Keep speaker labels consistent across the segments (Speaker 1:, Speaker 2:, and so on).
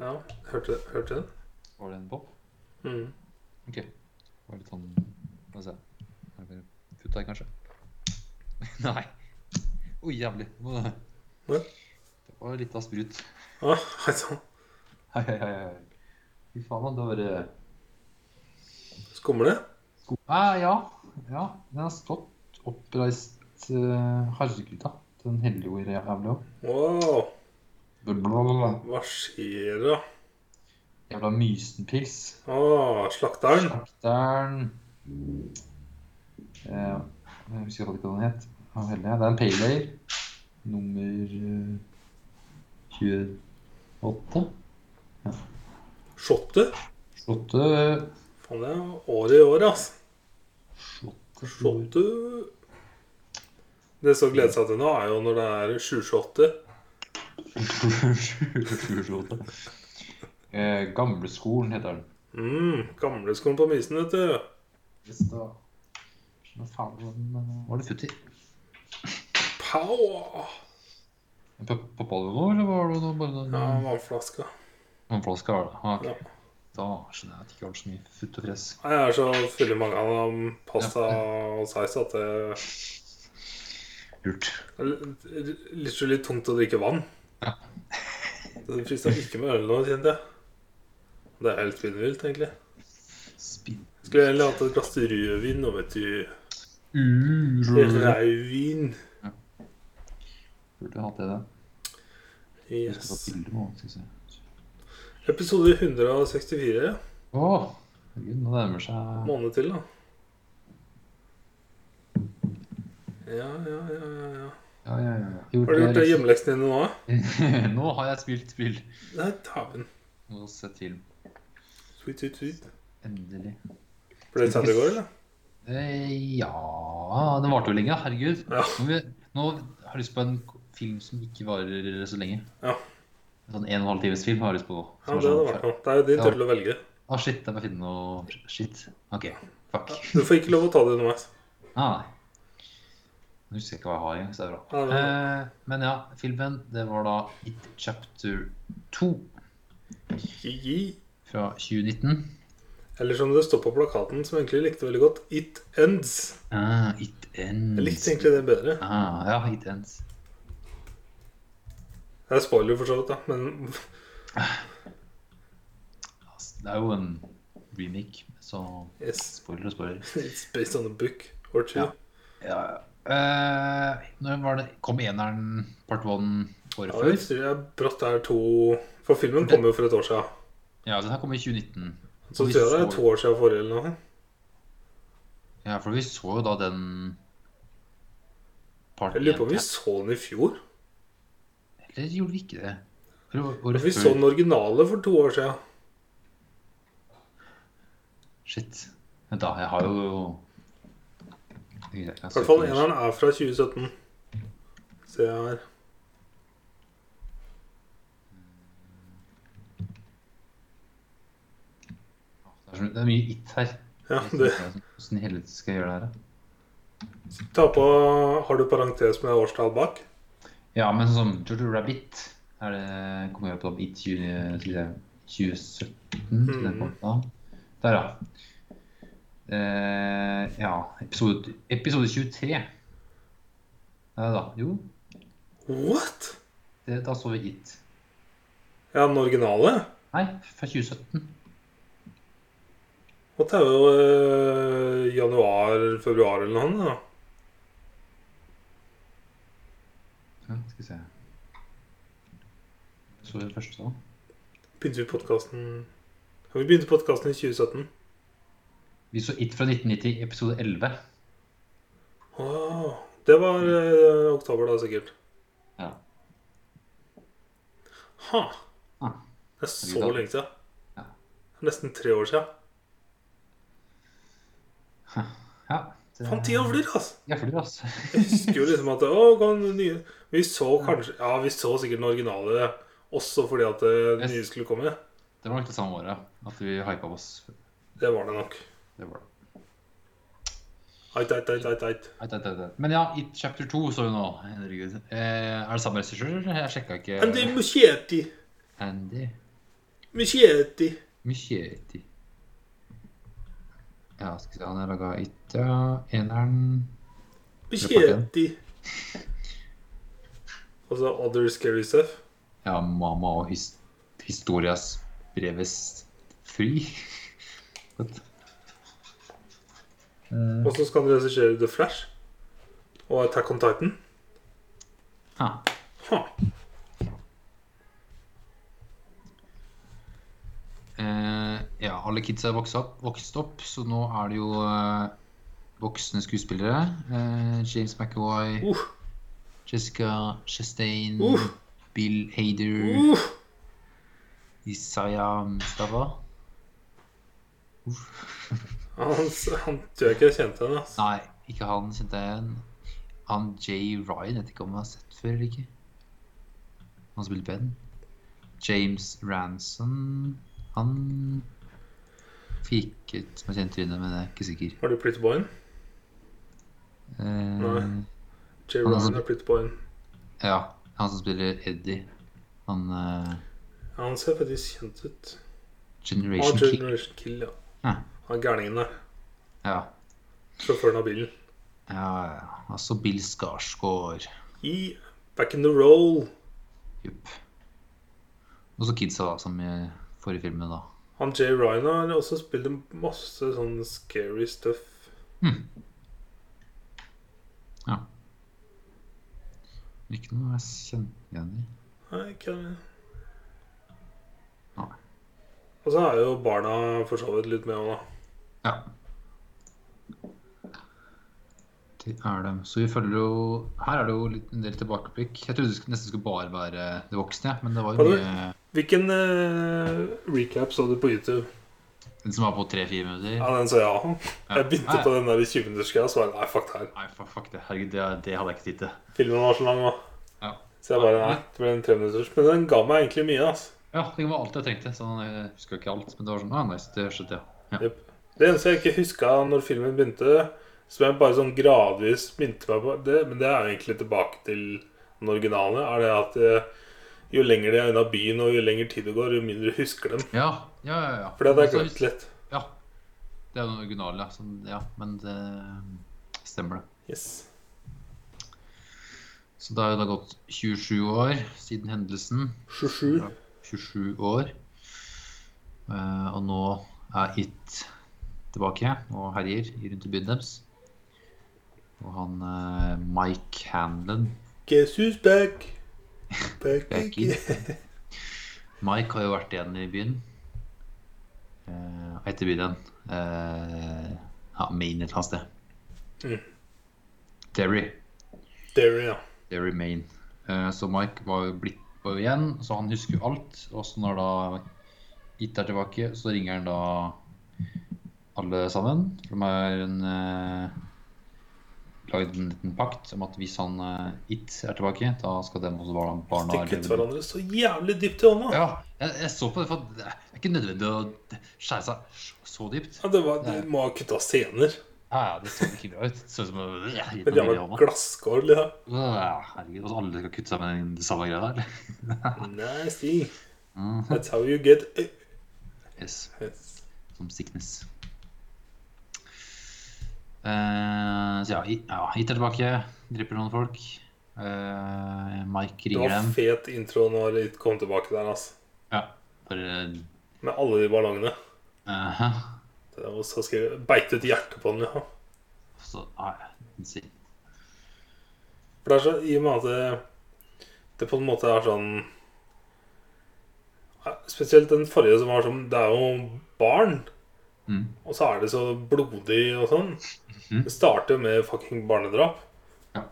Speaker 1: Ja, hørte, hørte den?
Speaker 2: Var det en bob?
Speaker 1: Mm.
Speaker 2: Ok. Det var litt sånn Hva skal jeg si? Er det bare kutt her, kanskje? Nei. Å, jævlig. Hva?
Speaker 1: Hva?
Speaker 2: Det var litt av sprut.
Speaker 1: Å, hei sann.
Speaker 2: Hei, hei, hei. hei. Fy faen, man, det var bare
Speaker 1: Skumle?
Speaker 2: sko... Eh, ja. ja. Den har stått oppreist uh, Herregud, da. Den heller jo i det jævla òg.
Speaker 1: Wow,
Speaker 2: Blablabla.
Speaker 1: hva skjer da?
Speaker 2: Jævla Mysenpils.
Speaker 1: Å, slakteren.
Speaker 2: Slakteren eh, Jeg husker aldri hva den het. Han var heldig, ja. Det er en pale ale. Nummer eh, 28.
Speaker 1: Shotte?
Speaker 2: Slåtte
Speaker 1: Faen, det er året i år, ass.
Speaker 2: Slåtte
Speaker 1: Shotte Det som gleder seg til nå, er jo når det er 7-8.
Speaker 2: Slåtte. Eh, Gamleskolen heter den.
Speaker 1: Mm, Gamleskolen på Mysen, vet du.
Speaker 2: Hvis da Hva faen var den eh, Var det futti?
Speaker 1: Pow!
Speaker 2: Poppa du nå, eller var det noe- bare noen
Speaker 1: Ja, vannflaska.
Speaker 2: noen flasker? var det? Ah, ok.
Speaker 1: Ja.
Speaker 2: Da skjønner jeg at det ikke var så mye futt og fres.
Speaker 1: Nei, Jeg er så full i mange av dem pasta og saus at det
Speaker 2: Lurt.
Speaker 1: det er litt, så litt tungt å drikke vann.
Speaker 2: Ja.
Speaker 1: Det frister ikke med øl nå, kjente jeg. Det er helt spinnvilt, egentlig.
Speaker 2: Spinn.
Speaker 1: Skulle egentlig hatt et glass rødvin og vet du
Speaker 2: Urørt.
Speaker 1: Rødvin.
Speaker 2: Burde hatt det, det. Jeg skal ta
Speaker 1: Yes.
Speaker 2: bilde med skal vi se.
Speaker 1: Episode 164.
Speaker 2: Å, herregud, nå nærmer seg
Speaker 1: Måned til, da. Ja, ja, ja. ja, ja.
Speaker 2: Ja, ja, ja.
Speaker 1: Har du gjort det hjemmeleksen din nå?
Speaker 2: hjemme? Nå har jeg spilt spill.
Speaker 1: Nei, dæven.
Speaker 2: Nå sett til.
Speaker 1: Sweet, sweet, sweet.
Speaker 2: Endelig.
Speaker 1: Ble det sent i går, eller?
Speaker 2: Eh, ja Den varte jo lenge, da. herregud.
Speaker 1: Ja.
Speaker 2: Nå, vil, nå har jeg lyst på en film som ikke varer så lenge.
Speaker 1: Ja.
Speaker 2: En Sånn en og en halv times film har jeg lyst på. nå,
Speaker 1: Ja,
Speaker 2: som
Speaker 1: det hadde
Speaker 2: er
Speaker 1: vært
Speaker 2: sånn-
Speaker 1: noe. Det er jo din
Speaker 2: Ja.
Speaker 1: tur til å velge.
Speaker 2: Ah, shit, jeg må finne noe shit. OK. Fuck.
Speaker 1: Du får ikke lov å ta det underveis.
Speaker 2: Ah, nei. Nå husker jeg ikke hva jeg har engang, så det er bra.
Speaker 1: Ja, det er
Speaker 2: Eh, men ja, filmen, det var da It Chapter 2
Speaker 1: Gi-gi.
Speaker 2: fra 2019.
Speaker 1: Eller som det står på plakaten, som jeg egentlig likte veldig godt, It Ends.
Speaker 2: Ah, It Ends.
Speaker 1: Jeg likte egentlig det bedre.
Speaker 2: Ah, ja, It Ends.
Speaker 1: Det er spoiler for så vidt, da, men
Speaker 2: Altså, Det er jo en remake, så
Speaker 1: yes.
Speaker 2: spoiler og spoiler.
Speaker 1: It's based on a book or two.
Speaker 2: Ja. Ja, ja. Eh, når var det, kom eneren part 1 året
Speaker 1: Ja,
Speaker 2: før?
Speaker 1: jeg tror jeg brått det er to For filmen kom jo for et år siden.
Speaker 2: Ja, den her kom i 2019.
Speaker 1: Så tror jeg det er to år siden forrige eller noe.
Speaker 2: Ja, for vi så jo da den part
Speaker 1: Jeg lurer på om
Speaker 2: 1
Speaker 1: vi så den i fjor.
Speaker 2: Eller gjorde vi ikke det? Eller å- året
Speaker 1: Vi
Speaker 2: før?
Speaker 1: så den originale for to år siden.
Speaker 2: Shit. Vent, da. Jeg har jo
Speaker 1: I
Speaker 2: I
Speaker 1: hvert fall eneren er fra 2017. Se her.
Speaker 2: Det er mye it her.
Speaker 1: Ja,
Speaker 2: Jeg vet
Speaker 1: det.
Speaker 2: ikke Hvordan i helvete skal jeg gjøre det her? da?
Speaker 1: Ta på Har du parentes med årstall bak?
Speaker 2: Ja, men sånn Jojo Rabbit er det, kommer jeg på i 20, til det- 2017. til
Speaker 1: Mhm.
Speaker 2: den kom da. Der, ja. Eh, ja episode, episode 23. Nei da. Jo,
Speaker 1: What?
Speaker 2: det, da så vi It.
Speaker 1: Ja, den originale?
Speaker 2: Nei, fra 2017.
Speaker 1: Og det er jo eh, januar-februar eller noe. Da.
Speaker 2: Ja, skal vi se. Så vi den første, da?
Speaker 1: Begynte vi podkasten ja, Vi begynte podkasten i 2017.
Speaker 2: Vi så It fra 1990, episode 11.
Speaker 1: Åh, det var eh, oktober, da, sikkert.
Speaker 2: Mm. Ja.
Speaker 1: Ha!
Speaker 2: Ah.
Speaker 1: Det er så
Speaker 2: Herregud, da.
Speaker 1: lenge siden.
Speaker 2: Ja.
Speaker 1: Nesten tre år siden.
Speaker 2: ja det-
Speaker 1: Faen, tida flyr, altså!
Speaker 2: Ja, flyr, altså.
Speaker 1: Jeg husker jo liksom at å, kom det nye. Vi så
Speaker 2: Mm.
Speaker 1: kanskje Ja, vi så sikkert den originale også fordi at eh, det
Speaker 2: Yes.
Speaker 1: nye skulle komme.
Speaker 2: Det var nok det samme året at vi hypa oss.
Speaker 1: Det var det nok.
Speaker 2: Det var det.
Speaker 1: Ait, ait, ait, eit, eit.
Speaker 2: Eit, eit, eit, eit. Men ja, It chapter 2 så vi nå. Herregud. Eh, er det samme regissør, eller? Jeg sjekka ikke.
Speaker 1: Andy Muschietti.
Speaker 2: Andy.
Speaker 1: Machete.
Speaker 2: Machete. Ja, skal vi se, han er laga etter eneren
Speaker 1: Machete. Altså Other Scary Stuff.
Speaker 2: Ja, mamma og his historias breves fri. Godt. Eh,
Speaker 1: Og så skal han regissere The Flash og Attack on Titan.
Speaker 2: ha.
Speaker 1: Ha.
Speaker 2: Eh, ja, alle kids er vokst opp, vokst opp så nå er det jo eh, voksne skuespillere. Eh, James McAvoy,
Speaker 1: Uh,
Speaker 2: Jessica Chastain,
Speaker 1: Uh.
Speaker 2: Bill Hader,
Speaker 1: uh.
Speaker 2: Isaiah Mustafa.
Speaker 1: Han, han tror jeg ikke jeg kjente henne. Altså.
Speaker 2: Nei, ikke han kjente jeg igjen. Han Jay Ryan, vet ikke om jeg har sett før eller ikke. Han spiller Ben. James Ranson Han fikk ut som et kjent tryne, men jeg er ikke sikker.
Speaker 1: Har du Pretty Boyen?
Speaker 2: Eh,
Speaker 1: Nei. Jay
Speaker 2: Han er
Speaker 1: Ryan
Speaker 2: sånn-
Speaker 1: er Pretty Boyen.
Speaker 2: ja, han som spiller Eddie. Han eh,
Speaker 1: Han ser faktisk kjent ut. Han
Speaker 2: Generation
Speaker 1: er
Speaker 2: Kick.
Speaker 1: Generation Kill, ja.
Speaker 2: Ja.
Speaker 1: Han er gærningen der.
Speaker 2: Ja,
Speaker 1: Sjåføren av bilen.
Speaker 2: ja, ja. Altså Bill Skarsgård.
Speaker 1: I Back in the Roll.
Speaker 2: Jupp. Og så kidsa, da, som i forrige filmen, da.
Speaker 1: Han Jay Ryan har også spilt en masse sånn scary stuff.
Speaker 2: Ikke noe jeg kjenner igjen i.
Speaker 1: Nei, ikke det.
Speaker 2: Nei.
Speaker 1: Og så er jo barna for så vidt litt med òg, da.
Speaker 2: Ja. Det er dem. Så vi følger jo Her er det jo litt, en del tilbakeblikk. Jeg trodde det skulle- nesten skulle bare være de voksne, jeg, men det var jo
Speaker 1: Var det-
Speaker 2: mye
Speaker 1: Hvilken eh, recap så du på YouTube?
Speaker 2: Den som var på tre-fire minutter.
Speaker 1: Ja, den sa ja. Jeg begynte
Speaker 2: Nei,
Speaker 1: på den der i 20 minuttersgreia og så bare nei, fuck det her.
Speaker 2: Nei, fuck, fuck det. Herregud, det, det hadde jeg ikke tid til.
Speaker 1: Filmen var så lang òg.
Speaker 2: Ja.
Speaker 1: Så jeg bare nei, det ble en treminutters. Men den ga meg egentlig mye, altså.
Speaker 2: Ja, det var alt jeg trengte. Sånn, jeg husker ikke alt, men det var sånn ah, nice, det skjønte jeg. Ja.
Speaker 1: Jep. Det eneste jeg ikke huska når filmen begynte, som jeg bare sånn gradvis minte meg på det, Men det er jo egentlig tilbake til den originale. Er det at eh, jo lenger de er unna byen, og jo lenger tid det går, jo mindre husker dem.
Speaker 2: Ja, ja, ja. ja.
Speaker 1: For det hadde jeg
Speaker 2: Også-
Speaker 1: glemt lett.
Speaker 2: Ja. Det er jo den originale, ja. Sånn, ja. Men det stemmer, det.
Speaker 1: Yes.
Speaker 2: Så da har det gått 27 år siden hendelsen.
Speaker 1: 27.
Speaker 2: 27 år. Eh, og nå er It tilbake og herjer i rundt i byen deres. Og han eh, Mike Hanlon
Speaker 1: Guess who's back? Back,
Speaker 2: Back
Speaker 1: again.
Speaker 2: Mike har jo vært igjen i byen. Eh, etter byen igjen. Eh, ja, Maine et eller annet sted.
Speaker 1: Mm.
Speaker 2: Derry.
Speaker 1: There, ja.
Speaker 2: Derry, Maine. Eh, så Mike var jo blitt på igjen, så han husker jo alt. Og så når da It er tilbake, så ringer han da alle sammen. For de har en eh, lagd en liten pakt om at hvis han eh, It er tilbake, da skal dem også være barna
Speaker 1: Stikk ut
Speaker 2: leve-
Speaker 1: hverandre så jævlig dypt i hånda.
Speaker 2: Ja, jeg, jeg så på det, for det er ikke nødvendig å skjære seg så dypt.
Speaker 1: Ja, det, var, det må ha kutta scener.
Speaker 2: Ja, ja, det så ikke bra ut. Det Så ut som å ja, gi
Speaker 1: Et
Speaker 2: noe i
Speaker 1: jævla
Speaker 2: hånda.
Speaker 1: glasskår. Liksom.
Speaker 2: Ja, Herregud, og så alle skal kutte seg med den samme greia der? eller?
Speaker 1: Nasty.
Speaker 2: Mhm.
Speaker 1: That's how you get
Speaker 2: Yes.
Speaker 1: Yes.
Speaker 2: som sickness. Eh, så ja, hit ja, hit er tilbake. Dreper noen folk. Eh, Mike
Speaker 1: Det
Speaker 2: ringer
Speaker 1: var
Speaker 2: dem.
Speaker 1: fet intro når de kom tilbake der, altså.
Speaker 2: Ja, bare
Speaker 1: Med alle de ballongene.
Speaker 2: eh, hæ?
Speaker 1: Det var så skrevet. Beit ut hjertet på den, ja.
Speaker 2: Så nei, si.
Speaker 1: For det er så, i og med at det, det på en måte er sånn Ja, Spesielt den forrige som var sånn Det er jo barn,
Speaker 2: Mm.
Speaker 1: og så er det så blodig og sånn.
Speaker 2: Mhm.
Speaker 1: Det starter jo med fucking barnedrap.
Speaker 2: Ja.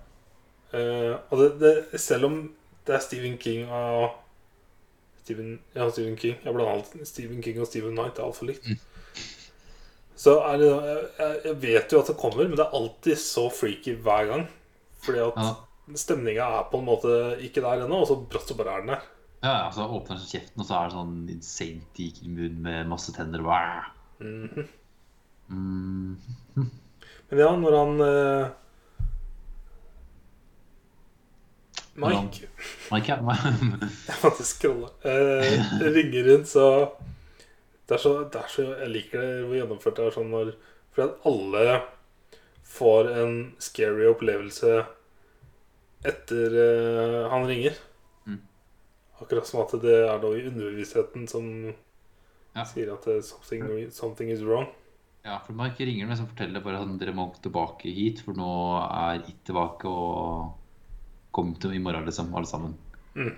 Speaker 1: Eh, og det, det, selv om det er Stephen King og Stephen, Ja, Stephen King. Jeg blander alt. Stephen King og Stephen Knight det er altfor likt.
Speaker 2: Mm.
Speaker 1: Så er det, jeg, jeg- jeg vet jo at det kommer, men det er alltid så freaky hver gang. Fordi at
Speaker 2: Ja,
Speaker 1: stemninga er på en måte ikke der ennå, og så brått så bare er den der.
Speaker 2: ja, ja, så åpner han kjeften, og så er det sånn insane diger munn med masse tenner. og bare-
Speaker 1: Mhm.
Speaker 2: Mm.
Speaker 1: Men ja, når han eh, Mike
Speaker 2: Mike, ja.
Speaker 1: Jeg måtte scrolle. Eh, ringer rundt, så det, er så det er så Jeg liker det hvor gjennomført det er sånn når Fordi at alle får en scary opplevelse etter eh, han ringer.
Speaker 2: Mm.
Speaker 1: Akkurat som at det er noe i underbevisstheten som
Speaker 2: Ja.
Speaker 1: sier at eh, something, something is wrong.
Speaker 2: ja, for Mike ringer meg og forteller bare at dere må tilbake hit, for nå er It tilbake og kom til i morgen, liksom, alle sammen.
Speaker 1: Mm.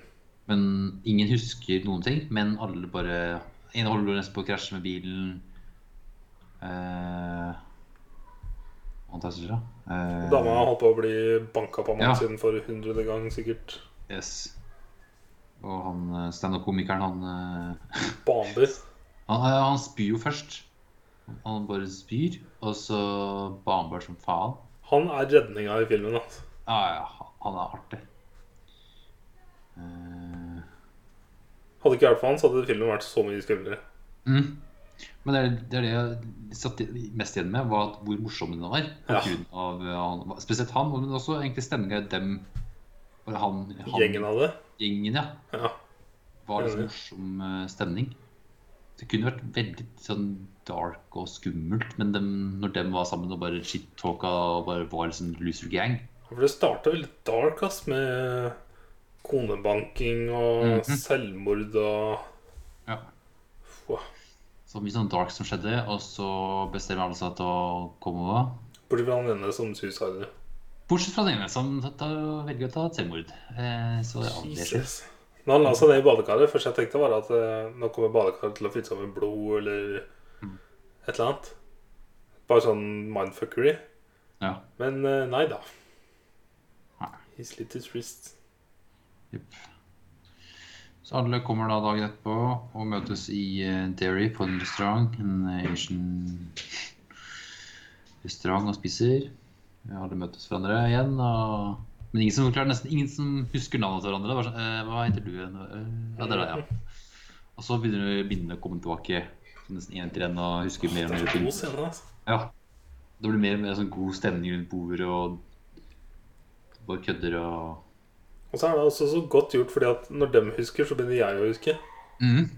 Speaker 2: Men ingen husker noen ting, men alle bare En holder nesten på å krasje med bilen. Eh, fantastisk, da. Eh,
Speaker 1: Dama holdt på å bli banka på av mannen
Speaker 2: Ja.
Speaker 1: sin for hundrede gang, sikkert.
Speaker 2: Yes. Og han eh, standup-komikeren, han eh,
Speaker 1: Baner.
Speaker 2: Han, han han spyr jo først. Han bare spyr, og så baner han bare som faen.
Speaker 1: Han er redninga i filmen. Altså.
Speaker 2: Ja, ja, han- han er artig. Eh,
Speaker 1: Hadde det ikke vært for han, så hadde filmen vært så mye skumlere.
Speaker 2: mm. Men det er, det er det jeg satt i- mest igjen med, var at hvor morsom den var. På
Speaker 1: Ja.
Speaker 2: grunn av, eh, han, spesielt han, men også egentlig stemninga i dem. Bare han, han
Speaker 1: Gjengen av det.
Speaker 2: Gjengen, ja.
Speaker 1: Ja.
Speaker 2: Var liksom
Speaker 1: Enig.
Speaker 2: morsom eh, stemning. Det kunne vært veldig sånn dark og skummelt, men dem, når dem var sammen og bare shit-talka og bare var liksom loser gang
Speaker 1: For det starta veldig dark, ass, med konebanking og
Speaker 2: Mhm. selvmord
Speaker 1: selvmord og
Speaker 2: Ja.
Speaker 1: Wow.
Speaker 2: Så mye sånn dark som skjedde, og så bestemmer alle seg til å komme over.
Speaker 1: Bortsett fra han ene som suicider.
Speaker 2: Bortsett fra den ene som ta- ta- velger å ta et selvmord. Eh, så ja, det skjer.
Speaker 1: Jesus. Når han la seg ned i badekaret, først jeg tenkte var at eh, nå kommer badekaret til å fylle seg med blod eller
Speaker 2: Mhm.
Speaker 1: et eller annet. Bare sånn mindfuckery.
Speaker 2: Ja.
Speaker 1: Men eh, nei da.
Speaker 2: Nei.
Speaker 1: He slit his wrist.
Speaker 2: Jepp. Så alle kommer da dagen etterpå og møtes i eh, Derry på en restaurant. En eh, Asian restaurant og spiser. Ja, Alle møtes hverandre igjen. Og... Men ingen som klarer nesten ingen som husker navnet til hverandre. Bare sånn, «Eh, hva heter du? igjen?» «Eh, Ja, det er deg, ja. Og så begynner det- bindene å komme tilbake så nesten én etter én og husker mer og
Speaker 1: Det
Speaker 2: mer
Speaker 1: er
Speaker 2: ting.
Speaker 1: to scener, altså.
Speaker 2: Ja. Det blir mer og mer sånn god stemning rundt bordet og bare kødder og
Speaker 1: Og så er det også så godt gjort, fordi at når dem husker, så begynner jeg å huske.
Speaker 2: Mhm.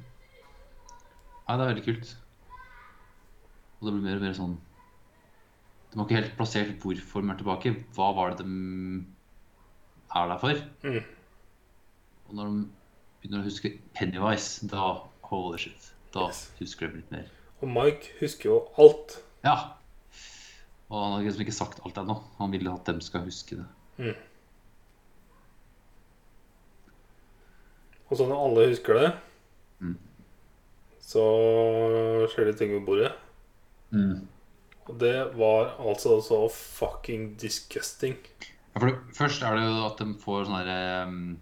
Speaker 2: Ja, det er veldig kult. Og det blir mer og mer sånn De har ikke helt plassert hvorfor de er tilbake. Hva var det de er der for?
Speaker 1: Mhm.
Speaker 2: Og når de begynner å huske Pennywise, da holy shit. Da
Speaker 1: Yes.
Speaker 2: husker de litt mer.
Speaker 1: Og Mike husker jo alt.
Speaker 2: Ja. Og han har liksom ikke sagt alt ennå. Han vil at dem skal huske det.
Speaker 1: Og så når alle husker det,
Speaker 2: Mm.
Speaker 1: så skjer det ting ved bordet. Og det var altså så fucking disgusting.
Speaker 2: Ja, for det, først er det jo at de får sånne her, ehm,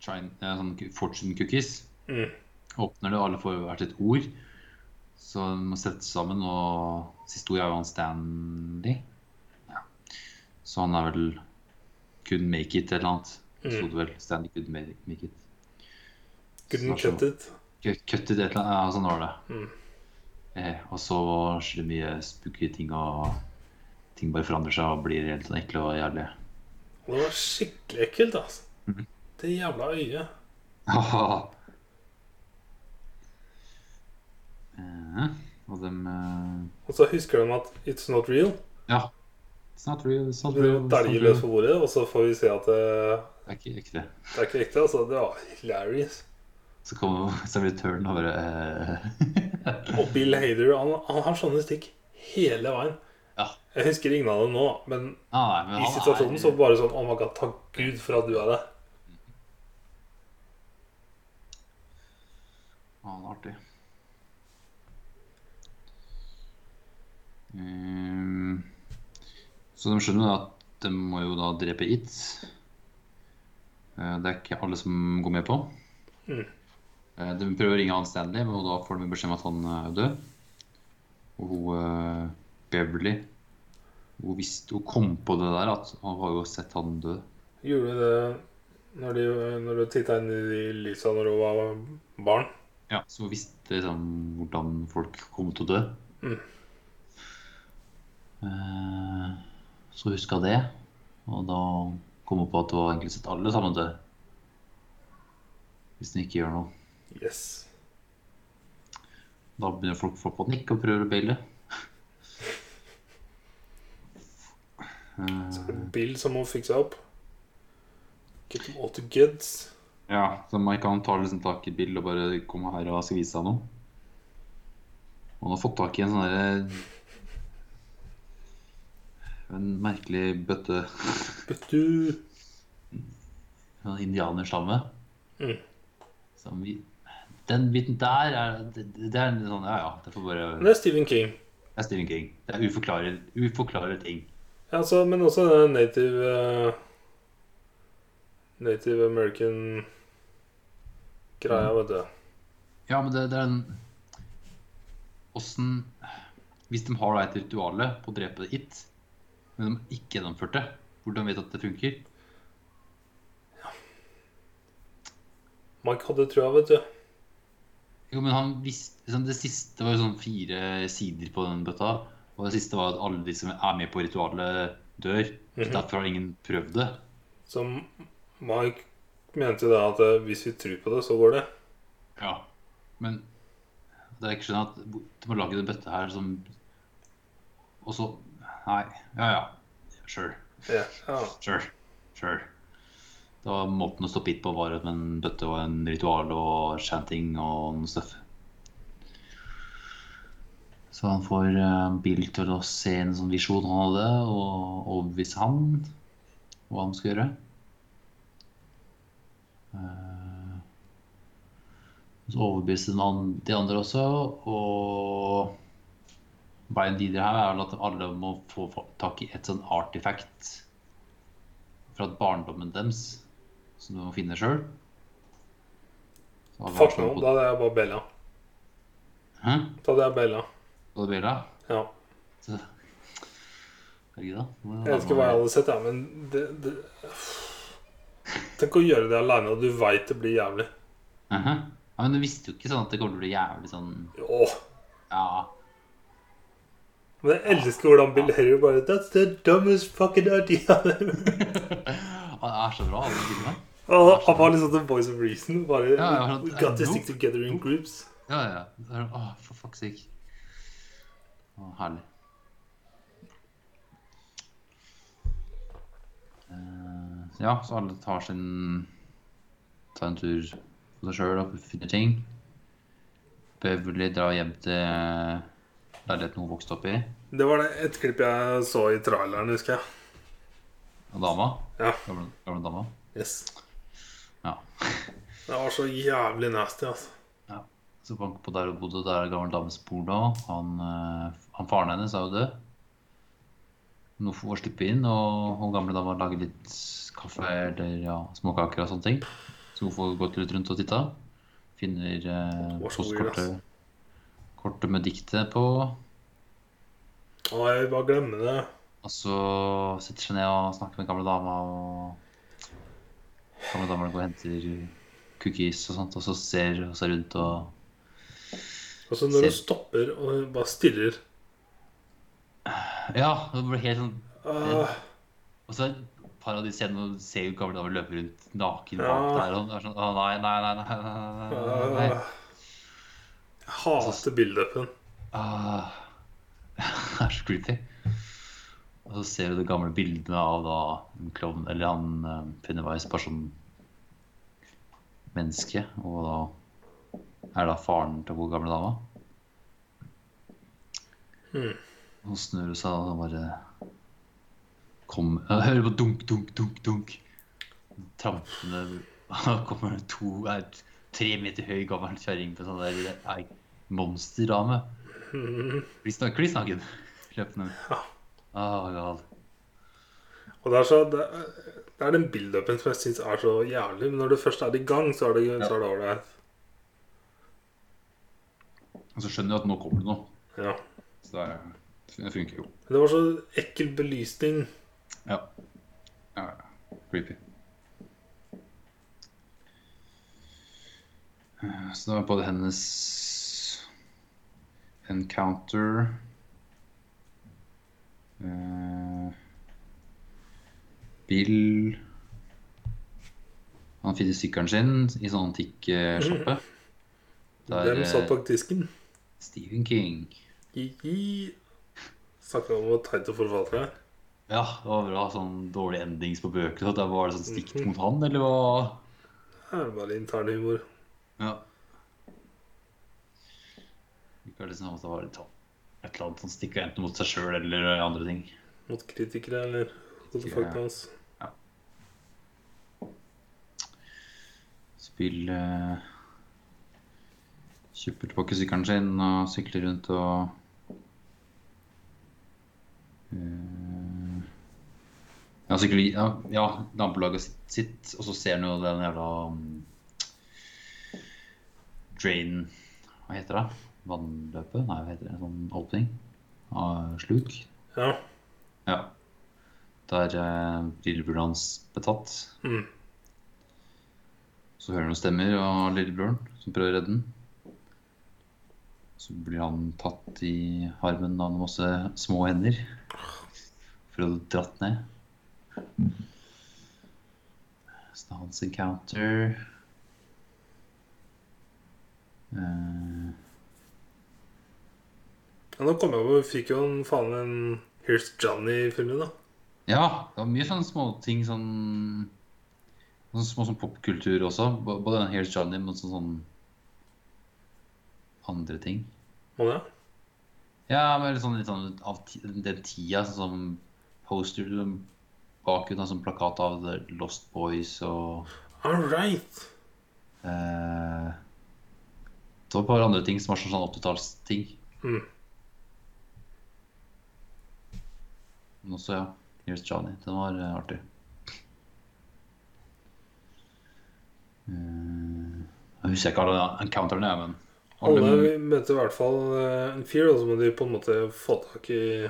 Speaker 2: China, eh, sånne ku- fortune cookies.
Speaker 1: Mm.
Speaker 2: Åpner det, og alle får hvert sitt ord. Så de må sette seg sammen, og siste ord er jo han Stanley. Ja. Så han er vel Couldn't make it, eller noe annet.
Speaker 1: Mm.
Speaker 2: Stod det vel. Stanley couldn't ma- make it.
Speaker 1: Couldn't cut it.
Speaker 2: Cut cut it, et eller annet. Ja, sånn var det.
Speaker 1: Mm.
Speaker 2: Eh, og så skjer det mye spooky ting, og ting bare forandrer seg og blir helt sånn ekle og jævlige.
Speaker 1: Og det var skikkelig ekkelt, altså.
Speaker 2: Mhm.
Speaker 1: Det jævla øyet.
Speaker 2: Haha. Eh, og dem eh,
Speaker 1: Og så husker de at it's not real.
Speaker 2: Ja. It's not real, it's
Speaker 1: Så
Speaker 2: not real.
Speaker 1: begynner de å
Speaker 2: it's not
Speaker 1: dælje
Speaker 2: real.
Speaker 1: løs på bordet, og så får vi se at det,
Speaker 2: Det er ikke ekte.
Speaker 1: det er ikke riktig. Altså, det var hilarious.
Speaker 2: Så kommer servitøren og bare eh,
Speaker 1: Og Bill Hader, han, han har sånne stikk hele veien.
Speaker 2: Ja.
Speaker 1: Jeg husker ingen av dem nå, men
Speaker 2: ah, nei, men
Speaker 1: i
Speaker 2: han er-
Speaker 1: situasjonen så bare sånn Oh my god, takk Gud for at du er der.
Speaker 2: Han er artig. Ehm, så de skjønner jo at de må jo da drepe It. Eh, Det er ikke alle som går med på.
Speaker 1: Mm.
Speaker 2: Eh, De prøver å ringe han Stanley, men da får de beskjed om at han eh, er død. Og hun eh, Beverly hun, visste, hun kom på det der, at han har jo sett han dø.
Speaker 1: Gjorde du det når, de, når du titta inn i de lysa når du var barn?
Speaker 2: Ja, så hun visste liksom hvordan folk kom til å dø.
Speaker 1: Mm.
Speaker 2: Eh, Så huska det, og da komme på at du har egentlig sett alle sammen til. Hvis den ikke gjør noe.
Speaker 1: Yes.
Speaker 2: Da begynner folk å få panikk og prøver å baile.
Speaker 1: Så
Speaker 2: Eh,
Speaker 1: er det Bill som må fikse opp. Get them all to goods.
Speaker 2: Ja, så man kan ta liksom tak i Bill og bare komme her og skal vise deg noe. Og han har fått tak i en sånn derre En merkelig bøtte.
Speaker 1: But du
Speaker 2: En indianerstamme.
Speaker 1: Mm.
Speaker 2: Som vi, den biten der er det, det er en sånn Ja, ja. Det får bare
Speaker 1: Men det er Stephen King.
Speaker 2: Det er Stephen King. Det er uforklaret, uforklaret ting.
Speaker 1: Ja, altså, men også den native eh, Native American greia, vet du.
Speaker 2: Ja, men det, det er en Åssen Hvis de har da et rituale på å drepe it, men de ikke gjennomførte, hvordan vet de at det funker?
Speaker 1: Mike hadde trua, vet du.
Speaker 2: Jo, men han visste liksom, Det siste var jo sånn fire sider på den bøtta. Og det siste var at alle de som er med på ritualet, dør. Så
Speaker 1: Mhm.
Speaker 2: derfor har ingen prøvd det.
Speaker 1: Så Mike mente da at eh, hvis vi tror på det, så går det.
Speaker 2: Ja. Men det er ikke skjønner at de har laget en bøtte her som Og så Nei. Ja, ja. Sure.
Speaker 1: Ja, ja.
Speaker 2: Sure. Sure. Det var måten å stoppe hit på var med en bøtte og en ritual og chanting og noe stuff. Så han får eh, Bill til å se en sånn visjon han hadde, og overbevise han hva han skal gjøre. Eh, Så overbeviser han de andre også, og veien videre her er vel at alle må få tak i et sånn artifact fra barndommen deres, som du må finne sjøl.
Speaker 1: Fuck no, da hadde jeg bare Bella.
Speaker 2: Hæ?
Speaker 1: Da hadde jeg Bella.
Speaker 2: Hva blir det?
Speaker 1: Ja.
Speaker 2: Så- Herregud, da. Nå-
Speaker 1: Jeg vet ikke hva jeg hadde sett, ja, men det, det Tenk å gjøre det aleine, og du veit det blir jævlig.
Speaker 2: Aha. Ja, men du visste jo ikke sånn at det kommer til å bli jævlig sånn
Speaker 1: Åh.
Speaker 2: Ja.
Speaker 1: Men jeg elsker hvordan Bill Harry bare That's the dumbest fucking idea
Speaker 2: Han er så bra, alle filmene.
Speaker 1: Og han var liksom the voice of reason. Bare
Speaker 2: Ja, ja, han-
Speaker 1: We got to stick together in groups.
Speaker 2: Ja, ja. Det er- Åh, for fuck's sake. Åh, herlig. Eh, ja, så alle tar sin Tar en tur for seg sjøl og finner ting. Beverly drar hjem til eh, leiligheten hun vokste opp i.
Speaker 1: Det var det et klipp jeg så i traileren, husker jeg.
Speaker 2: Og dama.
Speaker 1: Ja.
Speaker 2: Gamle, gamle dama.
Speaker 1: Yes.
Speaker 2: Ja.
Speaker 1: Det var så jævlig nasty, altså.
Speaker 2: Så bank på der hun bodde, der er gammel dames porno. Han, eh, han faren hennes er jo død. Nå får hun slippe inn, og hun gamle dama lager litt kaffe eller ja, småkaker og sånne ting. Så hun får gått litt rundt og titta. Finner eh,
Speaker 1: Det var så weird,
Speaker 2: postkortet kortet med diktet på.
Speaker 1: Å, jeg vil bare glemme det.
Speaker 2: Og så setter seg ned og snakker med gamle dama, og gamle dama går og henter cookies og sånt, og så ser hun seg rundt og
Speaker 1: Og så når du
Speaker 2: Ser-
Speaker 1: stopper og bare stirrer
Speaker 2: Ja, det blir helt sånn
Speaker 1: Ah,
Speaker 2: Og så paradis igjen, og ser jo gamle damer løpe rundt naken
Speaker 1: Ja.
Speaker 2: bak der. Og det er sånn, å nei, nei, nei, nei, nei, nei, nei, nei.
Speaker 1: ah. Jeg hater build-upen.
Speaker 2: Ah. Det er så creepy. Og så ser du de gamle bildene av da en klovn, eller han eh, Pennywise, bare som menneske. Og da er da faren til hun gamle dama.
Speaker 1: Hmm.
Speaker 2: Og så snur hun seg og da bare Kom, jeg hører på dunk, dunk, dunk, dunk. Trampene Da kommer det to er tre meter høy gammel kjerring på sånn der ei monsterdame.
Speaker 1: Mhm.
Speaker 2: Kliss nak- kliss naken. Løpende.
Speaker 1: Ja.
Speaker 2: Oh, God.
Speaker 1: Og det er, så, det, er- det er den build-upen som jeg syns er så jævlig. Men når du først er i gang, så er det så er det ålreit.
Speaker 2: Og så skjønner jeg at nå kommer det noe.
Speaker 1: Ja.
Speaker 2: Så det, er, det funker jo.
Speaker 1: Men Det var så ekkel belysning.
Speaker 2: Ja. ja. ja. Creepy. Eh, Så da er både hennes encounter eh, Bill han fysikkeren sin i sånn antikksjappe. Der
Speaker 1: Hvem satt bak disken?
Speaker 2: eh, Stephen King.
Speaker 1: I Snakka om å teite forfattere.
Speaker 2: Ja, det var bra. Sånn dårlig endings på bøker. Så det var det sånn stikk mot han, eller hva?
Speaker 1: Her er det bare internhumor.
Speaker 2: Ja. Likevel liksom at det var litt sånn et eller annet som stikker enten mot seg sjøl eller andre ting.
Speaker 1: Mot kritikere, eller mot
Speaker 2: Ja.
Speaker 1: fakta hans.
Speaker 2: Spill eh, Kjøper tilbake sykkelen sin og sykler rundt og eh, Ja, sykler Ja, ja nabolaget sitt, sitt, og så ser han jo den jævla mm, Drain Hva heter det? Vannløpet? Nei, hva heter det? Sånn åpning? Av sluk?
Speaker 1: Ja.
Speaker 2: Ja. Der eh, blir lillebroren hans betatt.
Speaker 1: Mm.
Speaker 2: Så hører han noen stemmer av lillebroren som prøver å redde den. Så blir han tatt i armen av masse små hender for å bli dratt ned. Så det er hans encounter. Eh,
Speaker 1: Ja, nå kom jeg på, vi fikk jo en faen en Here's Johnny-filmen, da.
Speaker 2: Ja, det var mye sånne småting sånn Sånn små sånn popkultur også. B- Både den Here's Johnny, men sånn, sånn andre ting.
Speaker 1: Må det?
Speaker 2: Ja, men litt sånn, litt sånn av ti- den tida, sånn som poster bakgrunn av sånn plakat av The Lost Boys og
Speaker 1: All right!
Speaker 2: eh, Det var et par andre ting som var sånn sånn 80-tallsting.
Speaker 1: Mm.
Speaker 2: Men også, ja. Here's Johnny. Den var eh, artig. Eh, jeg husker ikke alle encounterne, jeg, men
Speaker 1: Alle vi møter i hvert fall eh, en fyr, og så må de på en måte få tak i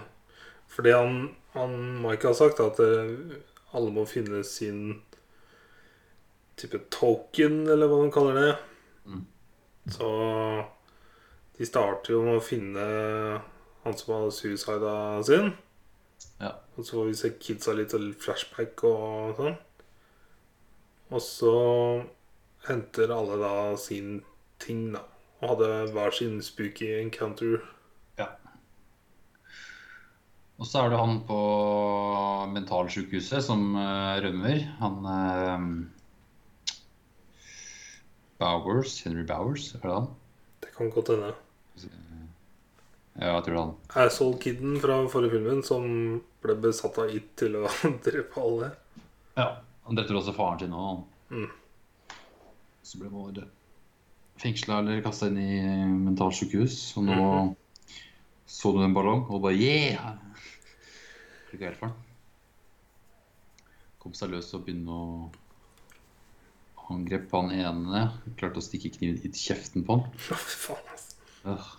Speaker 1: Fordi han, han Mike har sagt at eh, alle må finne sin type token, eller hva de kaller det.
Speaker 2: Mm.
Speaker 1: Så de starter jo med å finne han som har suicida sin.
Speaker 2: Ja.
Speaker 1: Og så får vi se kidsa litt og litt flashback og sånn. Og så henter alle da sin ting, da. Og hadde hver sin spooky encounter.
Speaker 2: Og så er det han på mentalsykehuset som eh, rømmer. Han eh, Bowers, Henry Bowers, er det han?
Speaker 1: Det kan godt hende.
Speaker 2: Ja, jeg tror det er han.
Speaker 1: Asshole-kiden fra forrige filmen som ble besatt av it til å drepe alle.
Speaker 2: Ja. Han drepte også faren sin nå.
Speaker 1: Mm.
Speaker 2: Så ble Vår fengsla eller kasta inn i mentalsykehus. Og nå så du en ballong og bare yeah! Klikka helt for den. Kom seg løs og begynne å angrepe han ene. Klarte å stikke kniven i kjeften på han.
Speaker 1: Å, fy faen, ass.
Speaker 2: Øh.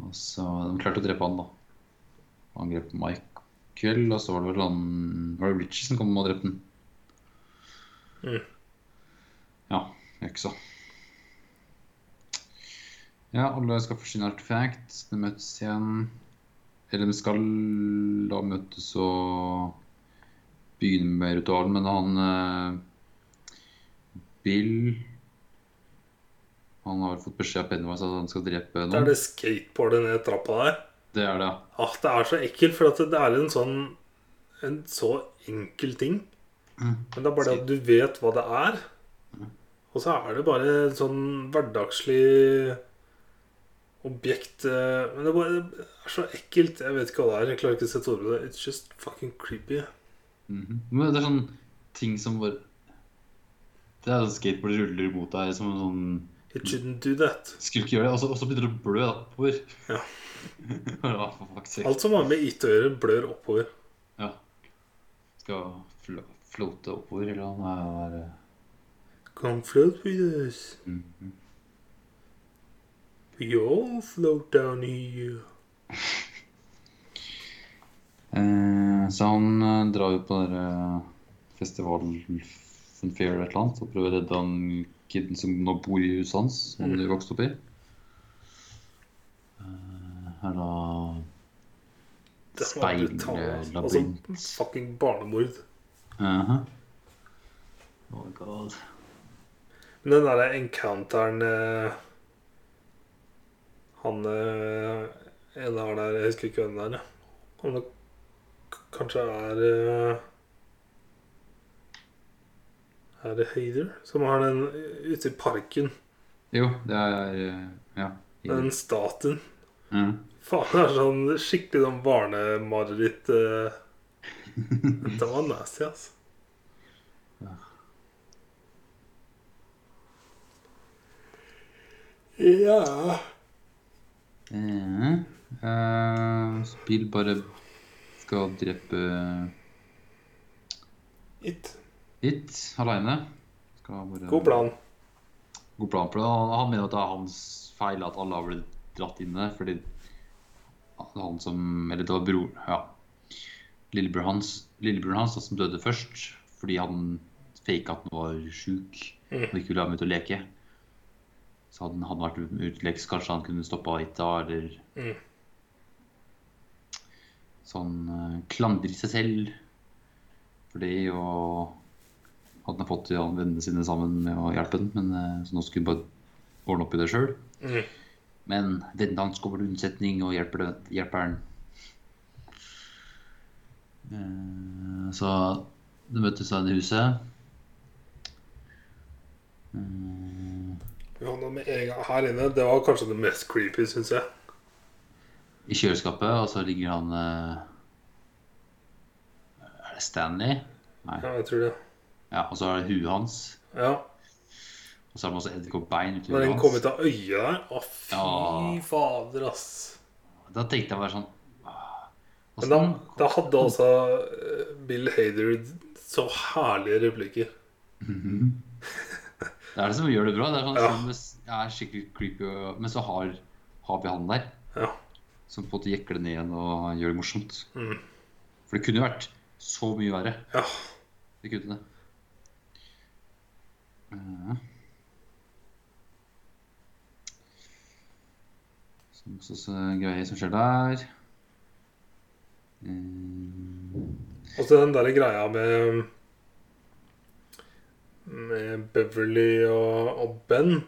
Speaker 2: Og så De klarte å drepe han, da. Angrep Michael, og så var det vel han Var det Richie som kom og drepte han?
Speaker 1: Mm.
Speaker 2: Ja. Øksa. Ja, alle skal få sin artefakt. De møtes igjen. Eller de skal da møtes og begynne med ritualen, men han eh, Bill han har vel fått beskjed av Pennywise at han skal drepe
Speaker 1: Det er
Speaker 2: noen.
Speaker 1: det skateboardet ned trappa der.
Speaker 2: Det er det, ja.
Speaker 1: Ah, det er så ekkelt, for at det er en sånn En så enkel ting.
Speaker 2: Mm.
Speaker 1: Men det er bare det at du vet hva det er. Og så er det bare en sånn hverdagslig objekt eh, Men det er, bare, det er så ekkelt. Jeg vet ikke hva det er. Jeg klarer ikke å sette ord på det. It's just fucking creepy.
Speaker 2: Mhm. Men det er sånn ting som bare Det er sånn skateboard ruller mot deg som en sånn
Speaker 1: It shouldn't do that.
Speaker 2: Skulle ikke gjøre det. Altså, Og så- og så begynner det å blø oppover.
Speaker 1: Ja.
Speaker 2: ja, for fuck's sake.
Speaker 1: Alt som har med IT å gjøre, blør oppover.
Speaker 2: Ja. Skal flo flote oppover, eller noe. Det er
Speaker 1: Come float with us.
Speaker 2: Mhm.
Speaker 1: We all float down here.
Speaker 2: Eh, Så han eh, drar jo på den der, eh, festivalen Fun Fair eller et eller annet og prøver å redde han kiden som nå bor i huset hans, som
Speaker 1: Mm.
Speaker 2: han vokste opp i. Eh, Her da
Speaker 1: Det var brutalt. Altså
Speaker 2: Speillabyrint.
Speaker 1: fucking barnemord.
Speaker 2: Aha. Oh god.
Speaker 1: Men den derre encounteren eh, Han eh, ene har der Jeg husker ikke hvem det er. Ja. Om det k- kanskje er eh, Er det Hayder? Som har den eh, ute i parken.
Speaker 2: Jo, det er eh, Ja.
Speaker 1: Den statuen.
Speaker 2: Ja.
Speaker 1: Faen, det er sånn skikkelig sånn barnemareritt. eh. Dette var nasty, altså.
Speaker 2: Ja.
Speaker 1: Ja
Speaker 2: Eh, eh, Spill bare skal drepe
Speaker 1: It.
Speaker 2: It aleine. Skal bare-
Speaker 1: God plan.
Speaker 2: god plan for det. Han, han mener at det er hans feil at alle har blitt dratt inn der, fordi det var han som Eller det var bror Ja. Lillebror hans, lillebror hans da, som døde først fordi han faka at han var sjuk
Speaker 1: Mm.
Speaker 2: og ikke ville være med ut og leke. Så hadde han- hadde han vært ute og lekt, så kanskje han kunne stoppa litt da, eller
Speaker 1: Mm.
Speaker 2: Så han eh, klandrer seg selv for det, og at han har fått ja, vennene sine sammen med å hjelpe ham, men eh, så nå skulle han bare ordne opp i det sjøl.
Speaker 1: Mm.
Speaker 2: Men vennene hans kommer til unnsetning og hjelper, det- hjelper han. Eh, Så de møtes da i huset. Eh,
Speaker 1: Ja, nå med en gang her inne, det var kanskje det mest creepy, syns jeg.
Speaker 2: I kjøleskapet, og så ligger han eh, Er det Stanley?
Speaker 1: Ja, jeg tror det.
Speaker 2: Ja, og så er det huet hans.
Speaker 1: Ja,
Speaker 2: Og så er det masse edderkoppbein uti
Speaker 1: Når
Speaker 2: huet
Speaker 1: den kom
Speaker 2: hans.
Speaker 1: ut av øyet der Å, fy
Speaker 2: Ja.
Speaker 1: fader, ass.
Speaker 2: Da tenkte jeg bare sånn «Åh,
Speaker 1: Men da,
Speaker 2: hvordan-
Speaker 1: da hadde altså eh, Bill Hader så herlige replikker.
Speaker 2: Mhm. Det er det som gjør det bra. Det er sånn
Speaker 1: Ja.
Speaker 2: som det er skikkelig creepy, og- men så har, har vi han der.
Speaker 1: Ja.
Speaker 2: Som på en måte jekker det ned igjen og gjør det morsomt.
Speaker 1: Mm.
Speaker 2: For det kunne jo vært så mye verre.
Speaker 1: Ja.
Speaker 2: Det kunne det. Ja. Så masse så, greier som skjer der. Mm.
Speaker 1: Og så den der greia med Med Beverly og, og Ben.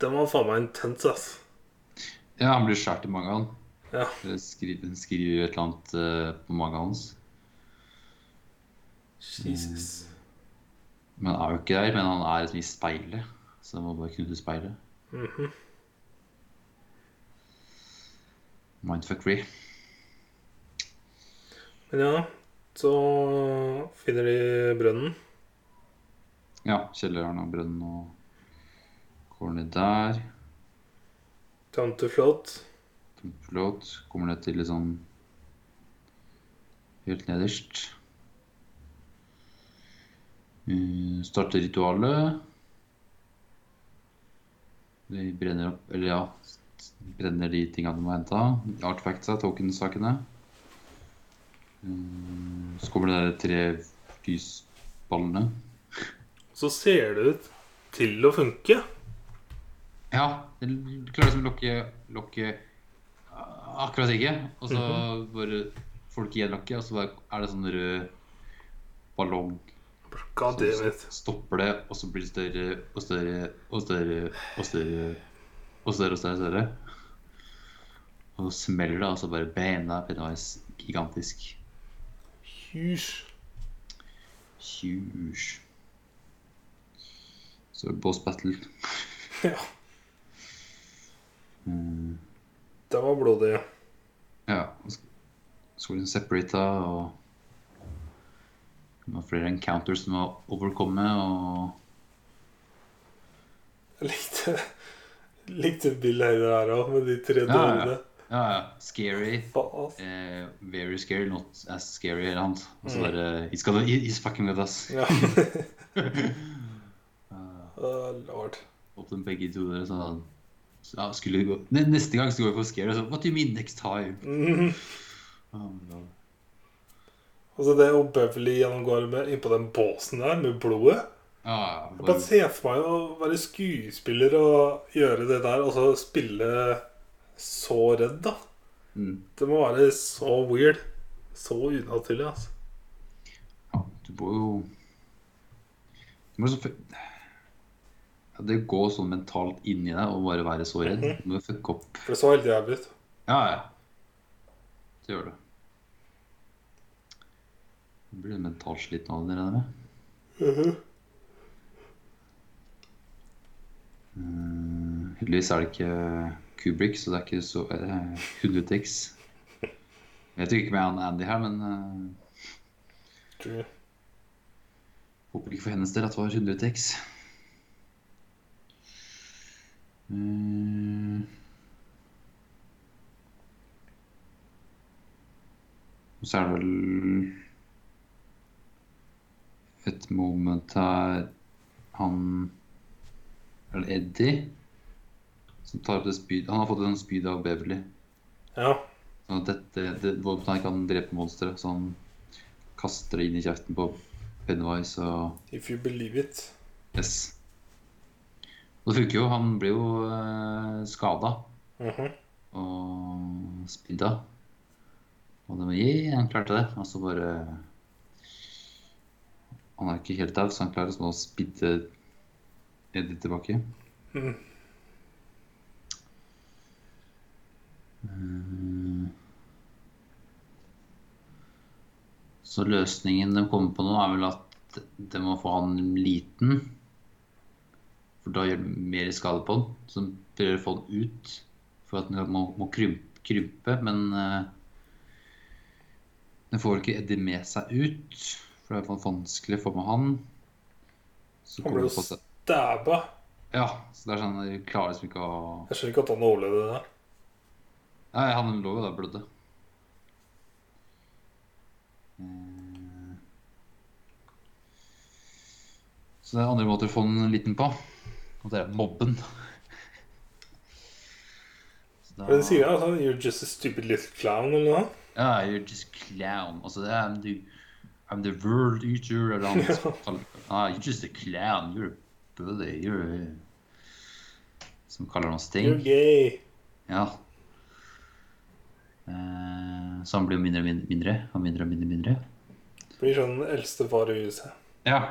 Speaker 1: Den var faen meg intens, ass.
Speaker 2: Ja, han blir skjært i magen.
Speaker 1: Ja.
Speaker 2: Eller skriver, hun skriver et eller annet eh, på magen hans.
Speaker 1: Jesus.
Speaker 2: Men han er jo ikke der, men han er liksom i speilet. Så han må bare knuse speilet.
Speaker 1: Mhm.
Speaker 2: Mindfuckery.
Speaker 1: Men ja, så finner de brønnen.
Speaker 2: Ja, kjelleren og brønnen og går ned der.
Speaker 1: Down to float.
Speaker 2: Pilot kommer ned til liksom helt nederst. Eh, starter ritualet. De brenner opp Eller ja, brenner de tingene de har henta. Artfactsa, token-sakene. Eh, så kommer det der tre lysballene.
Speaker 1: Så ser det ut til å funke.
Speaker 2: Ja, det klarer liksom å lokke, lokke eh, akkurat ikke. Og så bare får du ikke igjen lokket, og så bare er det sånn rød ballong.
Speaker 1: God damn it.
Speaker 2: Stopper det, og så blir det større og større og større og større og større og større. Og, større. og så smeller det, og så bare bam, det er Pennywise gigantisk.
Speaker 1: Huge.
Speaker 2: Huge. Så er det boss battle.
Speaker 1: Ja,
Speaker 2: Mm.
Speaker 1: den var blodig.
Speaker 2: Ja. og sk- Skolen separata og det var flere encounters som var overkomme, og
Speaker 1: Jeg likte, likte Bill Hader her òg, med de tre
Speaker 2: ja, ja.
Speaker 1: dørene.
Speaker 2: ja, ja, scary.
Speaker 1: Faen.
Speaker 2: Eh, very scary, not as scary, eller annet. Og så
Speaker 1: Mm.
Speaker 2: bare He's, gonna, he's fucking with us.
Speaker 1: Ja.
Speaker 2: Eh,
Speaker 1: Å, Lord.
Speaker 2: og de begge to der sånn så, ja, skulle gå. Ne- Neste gang så går vi for scary. Så, What do you mean next time?
Speaker 1: Mhm.
Speaker 2: Oh, no.
Speaker 1: Og så det og Beverly gjennomgår med innpå den båsen der, med blodet.
Speaker 2: Ja,
Speaker 1: Jeg
Speaker 2: bare,
Speaker 1: bare ser for meg å være skuespiller og gjøre det der, og så spille så redd, da.
Speaker 2: mm.
Speaker 1: Det må være så weird. Så unaturlig, altså.
Speaker 2: ja, du bor jo Men så fu- ja, det å gå sånn mentalt inni deg og bare være så redd, du må fucke opp.
Speaker 1: For det så helt jævlig ut.
Speaker 2: Ja, ja. Det gjør det. Du blir mentalt sliten av det, regner jeg med. Eh, Heldigvis er det ikke Kubrick, så det er ikke så eh, 100 triks. Jeg vet jo ikke med han Andy her, men eh,
Speaker 1: True.
Speaker 2: håper ikke for hennes del at det var 100 triks. Mm. Og så er det vel et moment her han Eller Eddie som tar opp det spyd Han har fått en spyd av Beverly.
Speaker 1: Ja.
Speaker 2: Sånn at dette, det, Wolfenstein kan drepe monstre, så han kaster det inn i kjeften på Pennywise og
Speaker 1: If you believe it.
Speaker 2: S. Og det funker jo. Han blir jo eh, skada
Speaker 1: Mhm.
Speaker 2: og spydda. Og det var yeah, han klarte det. Og så bare Han er ikke helt daud, så han klarer liksom å spidde Eddie tilbake.
Speaker 1: Mhm.
Speaker 2: Mm. Så løsningen de kommer på nå, er vel at de må få han liten. For da gjør det mer skade på han. Så de prøver å få han ut. For at han må, må krympe, krympe men eh, de får vel ikke Eddie med seg ut. For det er van- vanskelig å få med han. Så
Speaker 1: Han ble
Speaker 2: kommer
Speaker 1: jo
Speaker 2: de på seg
Speaker 1: stabba.
Speaker 2: Ja, så det er sånn de klarer liksom ikke å
Speaker 1: Jeg skjønner ikke at han overlevde det der.
Speaker 2: Nei, han lå jo der og blødde. Eh, Så det er andre måter å få den liten på. Og det er mobben. Så da-
Speaker 1: Hva er det de sier? Altså, You're just a stupid little clown, eller noe?
Speaker 2: Ja, you're just clown. Altså, det er I'm the, I'm the world eater. Eller han som kaller- ah, You're just a clown. You're a bully. You're a Som kaller noen sting.
Speaker 1: You're gay.
Speaker 2: Ja. Eh, Så han blir jo mindre og mindre, mindre og mindre og mindre. mindre.
Speaker 1: Blir sånn den eldste far i huset.
Speaker 2: Ja.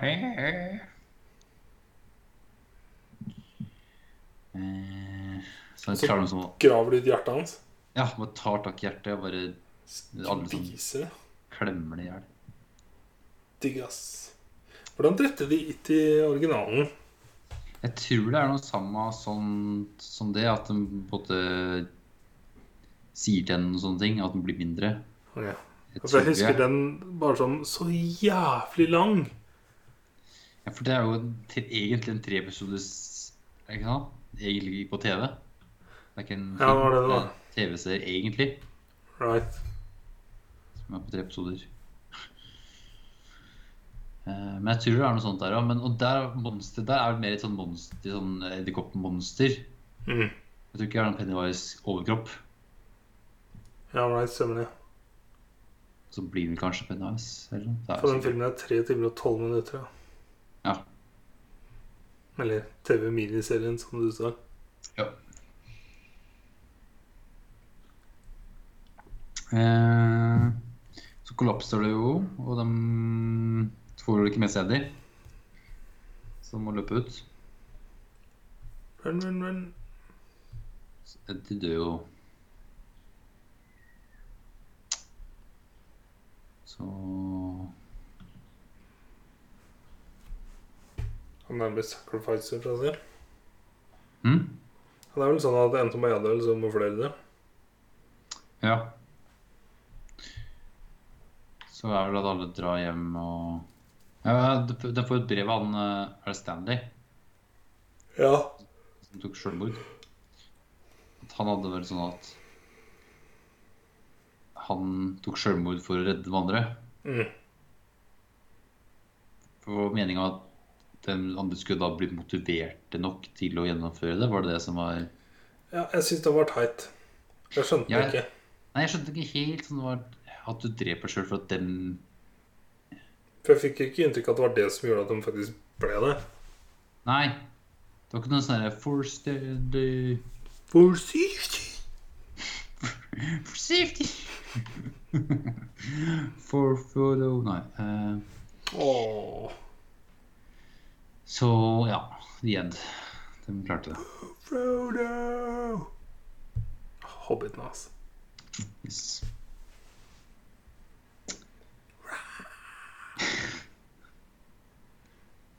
Speaker 2: Eh, Så han
Speaker 1: Så-
Speaker 2: klarer liksom å
Speaker 1: Graver du ut hjertet hans?
Speaker 2: Ja, bare tar tak i hjertet og bare Alle sammen.
Speaker 1: Spiser det.
Speaker 2: klemmer det i hjel.
Speaker 1: Digg, ass. Hvordan drepte de It i originalen?
Speaker 2: Jeg tror det er noe samme sånn, som det, at den på en måte sier til henne sånne ting, at den blir mindre.
Speaker 1: Okay.
Speaker 2: Jeg
Speaker 1: For Altså, jeg
Speaker 2: tror
Speaker 1: husker den bare som så jævlig lang.
Speaker 2: Ja, for det er jo en, til, egentlig en treepisodes er det ikke sant? Egentlig på TV. Det er ikke en
Speaker 1: Ja, det var det det var.
Speaker 2: er en TV-serie egentlig,
Speaker 1: Right.
Speaker 2: som er på tre episoder. Eh, Men jeg tror det er noe sånt der òg. Og der, monster, der er det mer et sånn monster, sånn edderkoppmonster. Jeg
Speaker 1: Mm.
Speaker 2: tror ikke det er noen Pennywise overkropp.
Speaker 1: Ja, right, stemmer det.
Speaker 2: Så blir vel kanskje Pennywise. Eller noe. Det er
Speaker 1: For den
Speaker 2: sikkert-
Speaker 1: filmen er tre timer og tolv minutter. Ja.
Speaker 2: Ja.
Speaker 1: Eller TV-miniserien, som du sa.
Speaker 2: Eh, Så kollapser det jo, og de får jo ikke med seg Eddie. Så de må løpe ut.
Speaker 1: Run, run, run.
Speaker 2: Så Eddie dør jo. Så
Speaker 1: Han er blitt sacrificer fra seg.
Speaker 2: hm?
Speaker 1: Han er vel sånn at enten må jeg dø, eller så må flere dø.
Speaker 2: Ja. Så er vel at alle drar hjem og ja, De de får et brev av han eh, Er det Stanley?
Speaker 1: Ja.
Speaker 2: som tok selvmord. At han hadde vel sånn at han tok selvmord for å redde de andre.
Speaker 1: Mm.
Speaker 2: For meninga at den andre skulle da bli motiverte nok til å gjennomføre det, var det det som var
Speaker 1: Ja, jeg syns det var teit. Jeg skjønte det
Speaker 2: Jeg-
Speaker 1: ikke.
Speaker 2: Nei, jeg skjønte ikke helt sånn det var at du dreper sjøl for at dem
Speaker 1: For jeg fikk ikke inntrykk av at det var det som gjorde at de faktisk ble det.
Speaker 2: Nei. Det var ikke noe sånn derre For steady
Speaker 1: Forsiktig!
Speaker 2: For safety! oh, for follow Nei. eh,
Speaker 1: Åh.
Speaker 2: Så ja, The End. De klarte det.
Speaker 1: Frodo! Hobbiten, altså.
Speaker 2: Yes.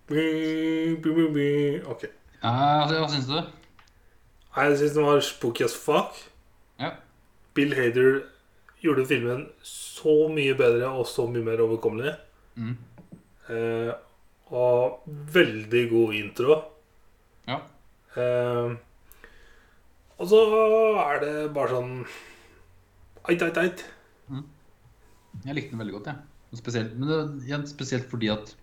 Speaker 1: Bi, bi, bi, bi. Ok.
Speaker 2: Eh, altså, hva syns du?
Speaker 1: Nei, Jeg syns den var spooky as fuck.
Speaker 2: Ja.
Speaker 1: Bill Hader gjorde filmen så mye bedre og så mye mer overkommelig.
Speaker 2: Mm.
Speaker 1: Eh, og veldig god intro.
Speaker 2: Ja.
Speaker 1: Eh, og så er det bare sånn Ait, ait, ait.
Speaker 2: Jeg likte den veldig godt, jeg. Og Spesielt, men det, igjen, spesielt fordi at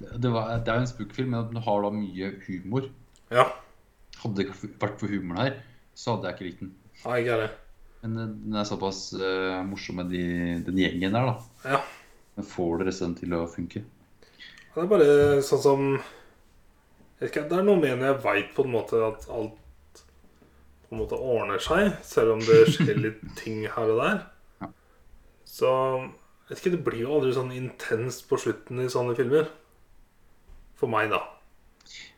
Speaker 2: det, det, var, det er jo en spookfilm, men den har da mye humor.
Speaker 1: Ja.
Speaker 2: Hadde det ikke vært for humoren her, så hadde jeg ikke likt den.
Speaker 1: Nei, ikke heller.
Speaker 2: Men eh, den er såpass eh, morsom med de, den gjengen der, da.
Speaker 1: Ja.
Speaker 2: Den får det resten til å funke.
Speaker 1: Det er bare sånn som jeg vet ikke, Det er noe med en jeg veit på en måte at alt på en måte ordner seg, selv om det skjer litt ting her og der.
Speaker 2: Ja.
Speaker 1: Så jeg vet ikke, det blir jo aldri sånn intenst på slutten i sånne filmer. For meg, da.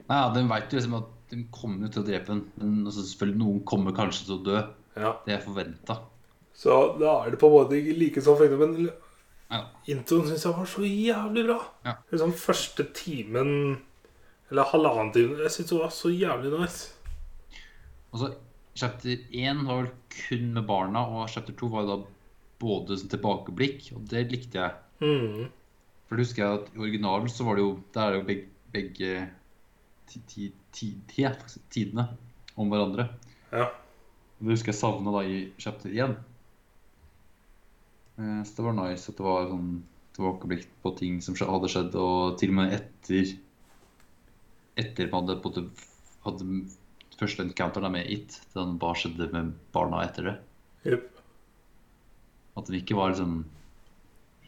Speaker 2: Nei, ja, Den veit jo liksom at den kommer jo til å drepe den. Men altså, selvfølgelig noen kommer kanskje til å dø.
Speaker 1: Ja.
Speaker 2: Det er forventa.
Speaker 1: Så da er det på en måte ikke like sånn fengende, men
Speaker 2: Ja.
Speaker 1: introen syns jeg var så jævlig bra.
Speaker 2: Ja.
Speaker 1: Liksom første timen, eller halvannen time, jeg syns det var så jævlig nice.
Speaker 2: Og så Chapter 1 var vel kun med barna, og chapter 2 var jo da både sånn tilbakeblikk, og det likte jeg.
Speaker 1: Mm.
Speaker 2: For det husker jeg at i originalen så var det jo Der er det jo begge, begge ti, ti, ti, ti, ja, faktisk, tidene om hverandre.
Speaker 1: Ja.
Speaker 2: Og det husker jeg savna da i chapter 1. Eh, Så det var nice at det var sånn tilbakeblikk på ting som skje- hadde skjedd, og til og med etter Etter man hadde, på en måte hadde første encounter da med It, den hva skjedde med barna etter det.
Speaker 1: Jep.
Speaker 2: At de ikke var liksom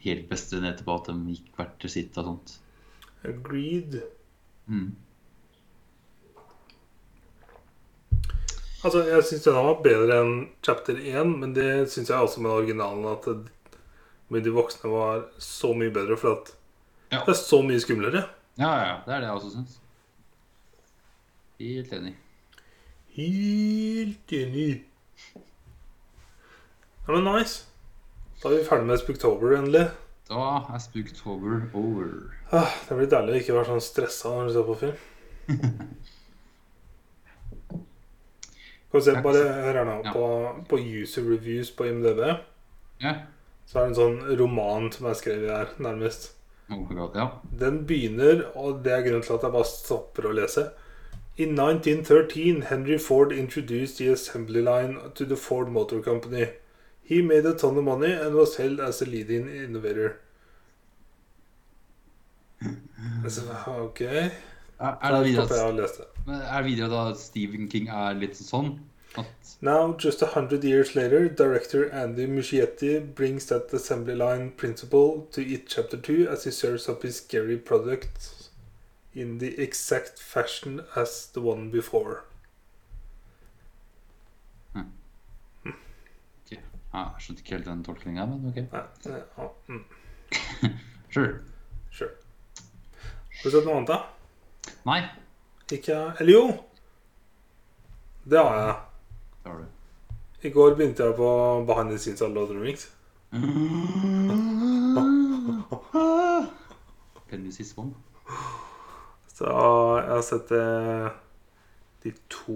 Speaker 2: helt bestevenner etterpå, at de gikk hvert til sitt og sånt.
Speaker 1: Agreed.
Speaker 2: Mm.
Speaker 1: Altså, Jeg syns denne var bedre enn chapter 1, men det syns jeg også med originalen. At det, med de voksne var så mye bedre, for at
Speaker 2: Ja.
Speaker 1: det er så mye skumlere.
Speaker 2: Ja, ja, det er det jeg også syns. Helt enig.
Speaker 1: Helt enig. Ja, men nice. Da er vi ferdig med Spooktober, endelig.
Speaker 2: Da er Spooktober over.
Speaker 1: Ah, det blir deilig å ikke være sånn stressa når du ser på film. Kan vi se, bare hør her nå.
Speaker 2: Ja.
Speaker 1: På, på user reviews på IMDb
Speaker 2: Ja.
Speaker 1: så er det en sånn roman som er skrevet her, nærmest.
Speaker 2: Oh my god, ja.
Speaker 1: Den begynner, og det er grunnen til at jeg bare stopper å lese. In 1913, Henry Ford introduced the assembly line to the Ford Motor Company. He made a ton of money and was held as a leading innovator. Altså, ok
Speaker 2: Er, er, det
Speaker 1: Da
Speaker 2: videre
Speaker 1: stopper
Speaker 2: at,
Speaker 1: jeg å lese det.
Speaker 2: men er det videre da at Stephen King er litt sånn? At
Speaker 1: Now, just a hundred years later, director Andy Muschietti brings that assembly line principle to it chapter 2 as he serves up his scary product in the exact fashion as the one before.
Speaker 2: ja, Jeg skjønte ikke helt den tolkninga, men OK.
Speaker 1: Nei, nei, ja, Ah, mm,
Speaker 2: Sure.
Speaker 1: sure. Har du sett noe annet, da?
Speaker 2: Nei,
Speaker 1: Ikke Eller jo! Det har jeg.
Speaker 2: det har du.
Speaker 1: I går begynte jeg på Behind the Scenes av Lord of the Rings.
Speaker 2: Penny Sisvon.
Speaker 1: Så jeg har sett eh, de to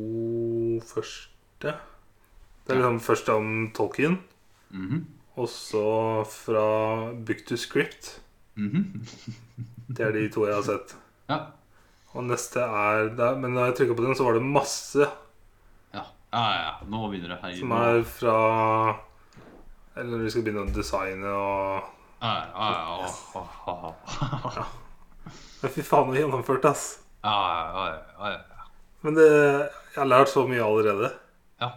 Speaker 1: første. Det er liksom først om Tolkien,
Speaker 2: Mhm.
Speaker 1: og så fra Book to Script.
Speaker 2: Mhm.
Speaker 1: Det er de to jeg har sett.
Speaker 2: Ja.
Speaker 1: Og neste er der, Men da jeg trykka på den, så var det masse
Speaker 2: Ja, ja, ja. Nå begynner det. Herregud.
Speaker 1: som er fra Eller når vi skal begynne å designe og
Speaker 2: Ja, ja, ja. Åh, åh, åh.
Speaker 1: Men fy faen, det er gjennomført, ass.
Speaker 2: Ja, ja, ja, ja.
Speaker 1: Men det, jeg har lært så mye allerede.
Speaker 2: Ja.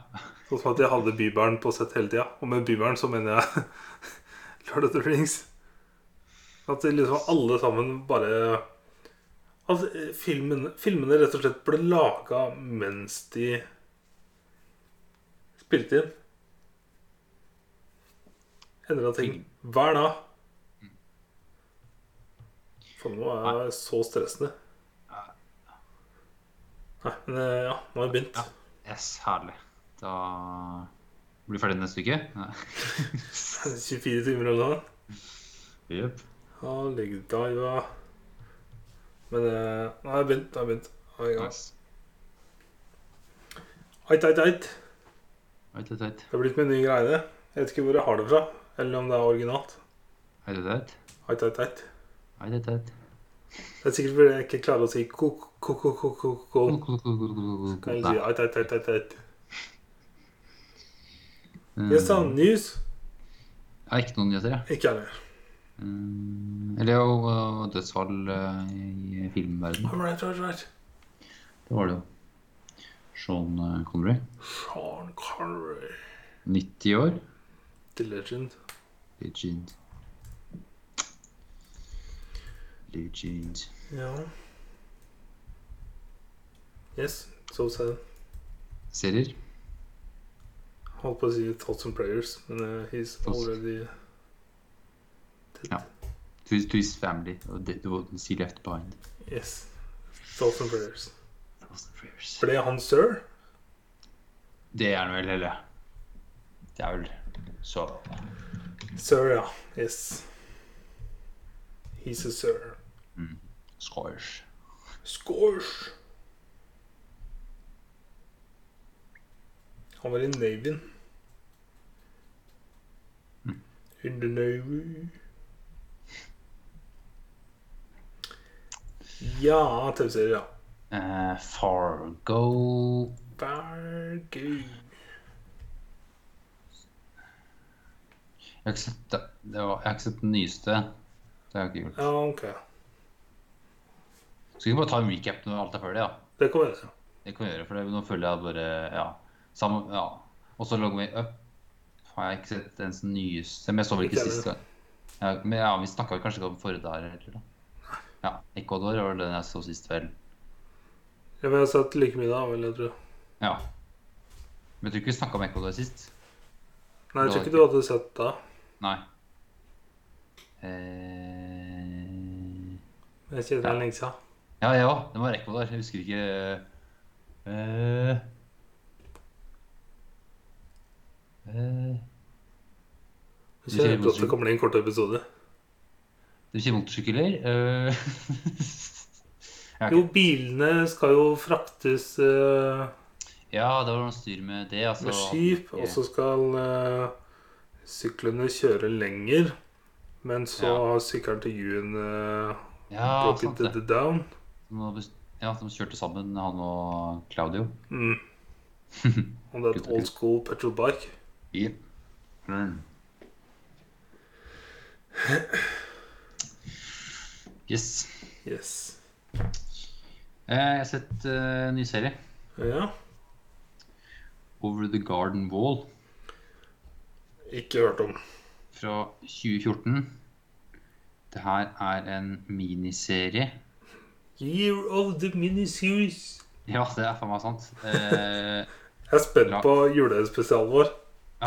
Speaker 1: Sånn som at jeg hadde Bybæren på sett hele tida. Og med Bybæren så mener jeg Lord of the Rings. At det liksom alle sammen bare At filmen, filmene rett og slett ble laga mens de spilte inn. Endra ting hver dag.
Speaker 2: Mm.
Speaker 1: Faen, nå er jeg så stressende.
Speaker 2: ja.
Speaker 1: Nei, men eh, ja, nå har vi begynt.
Speaker 2: Ja. Yes, herlig. Da blir vi ferdig neste uke. Nei.
Speaker 1: 24 timer om dagen.
Speaker 2: Jep.
Speaker 1: Ja, ligg deg, ja. Men eh, nå har jeg begynt. Nå har jeg begynt. Nå er jeg i gang.
Speaker 2: Nice.
Speaker 1: Ait, ait, ait.
Speaker 2: Heit, heit, heit.
Speaker 1: Det har blitt min nye greie. det. Jeg vet ikke hvor jeg har det fra, eller om det er originalt.
Speaker 2: Heit, heit, heit.
Speaker 1: Ait, ait, ait.
Speaker 2: Heit, heit, heit.
Speaker 1: Det er sikkert fordi jeg ikke klarer å si ko-ko-ko-ko-ko. Kan jeg si ait, ait, ait, ait, ait. Yes, da, news.
Speaker 2: Nei, mm. ikke noen nyheter, ja.
Speaker 1: Ikke jeg heller.
Speaker 2: Mm, Eller jo, øh, dødsfall øh, i filmverden.
Speaker 1: All right, right, right.
Speaker 2: Det var det jo. Sean øh, Connery.
Speaker 1: Sean Connery.
Speaker 2: 90 år.
Speaker 1: The legend.
Speaker 2: Legend. Legend.
Speaker 1: Ja. Yes, so sad.
Speaker 2: Serier.
Speaker 1: Holdt på å si Thoughts and Prayers, men eh, he's
Speaker 2: Thoughts.
Speaker 1: already dead.
Speaker 2: Ja. To, to his family. og The, the ones he left behind.
Speaker 1: Yes. Thoughts and Prayers.
Speaker 2: Thousand prayers.
Speaker 1: Ble han sir?
Speaker 2: Det er han vel, eller? Det er vel så Mm.
Speaker 1: Sir, ja. Yes. He's a sir.
Speaker 2: Scores.
Speaker 1: Scores! Han var i Navyen.
Speaker 2: Mm.
Speaker 1: In the Navy. Ja, TV-serier, ja.
Speaker 2: Eh, Fargo
Speaker 1: Bergøy.
Speaker 2: Jeg har ikke sett, det, det var, jeg har ikke sett den nyeste. Det har jeg ikke gjort.
Speaker 1: Ja, ok.
Speaker 2: Skal vi ikke bare ta en recap når alt er ferdig, da?
Speaker 1: Det kommer jeg til.
Speaker 2: Det kan vi gjøre, for det, nå føler jeg bare Ja. Samme, ja. Og så logger vi up. Har jeg ikke sett ens den nyeste Men jeg så vel ikke
Speaker 1: Ikke
Speaker 2: sist gang. Ja, men ja, vi snakka kanskje ikke om forrige der heller, da. Ja. Ecuador var den jeg så sist vel.
Speaker 1: Ja, men jeg har sett like mye da, vel, jeg tror.
Speaker 2: Ja. Men jeg tror ikke vi snakka om Ecuador sist.
Speaker 1: Nei, jeg tror ikke du hadde sett det.
Speaker 2: Nei. Eh...
Speaker 1: men Jeg kjenner
Speaker 2: Ja.
Speaker 1: det lenge siden.
Speaker 2: Ja, jeg òg. Det var Ecuador. Jeg husker ikke eh, eh,
Speaker 1: Jeg kjenner ikke at det kommer inn korte episoder.
Speaker 2: Det betyr motorsykler. eh. Ja, ok.
Speaker 1: Jo, bilene skal jo fraktes eh,
Speaker 2: ja, det var noe styr med det. Altså,
Speaker 1: med skip, og så skal eh, syklene kjøre lenger. Men så
Speaker 2: Ja.
Speaker 1: har sykkelen til Juen uh,
Speaker 2: ja,
Speaker 1: broken
Speaker 2: sant det.
Speaker 1: the down.
Speaker 2: Som var best- Ja, De kjørte sammen, han og Claudio.
Speaker 1: Mm. Og det er et
Speaker 2: Gutter,
Speaker 1: old school petrol bike.
Speaker 2: Yep. Mm. Yes.
Speaker 1: Yes.
Speaker 2: Eh, jeg har sett eh, en ny serie.
Speaker 1: Ja.
Speaker 2: Over the Garden Wall.
Speaker 1: Ikke hørt om.
Speaker 2: fra 2014. Det her er en miniserie.
Speaker 1: Year of the miniseries.
Speaker 2: Ja, det er faen meg sant. Eh,
Speaker 1: Jeg er spent
Speaker 2: Ja.
Speaker 1: på julespesialen vår.
Speaker 2: ja,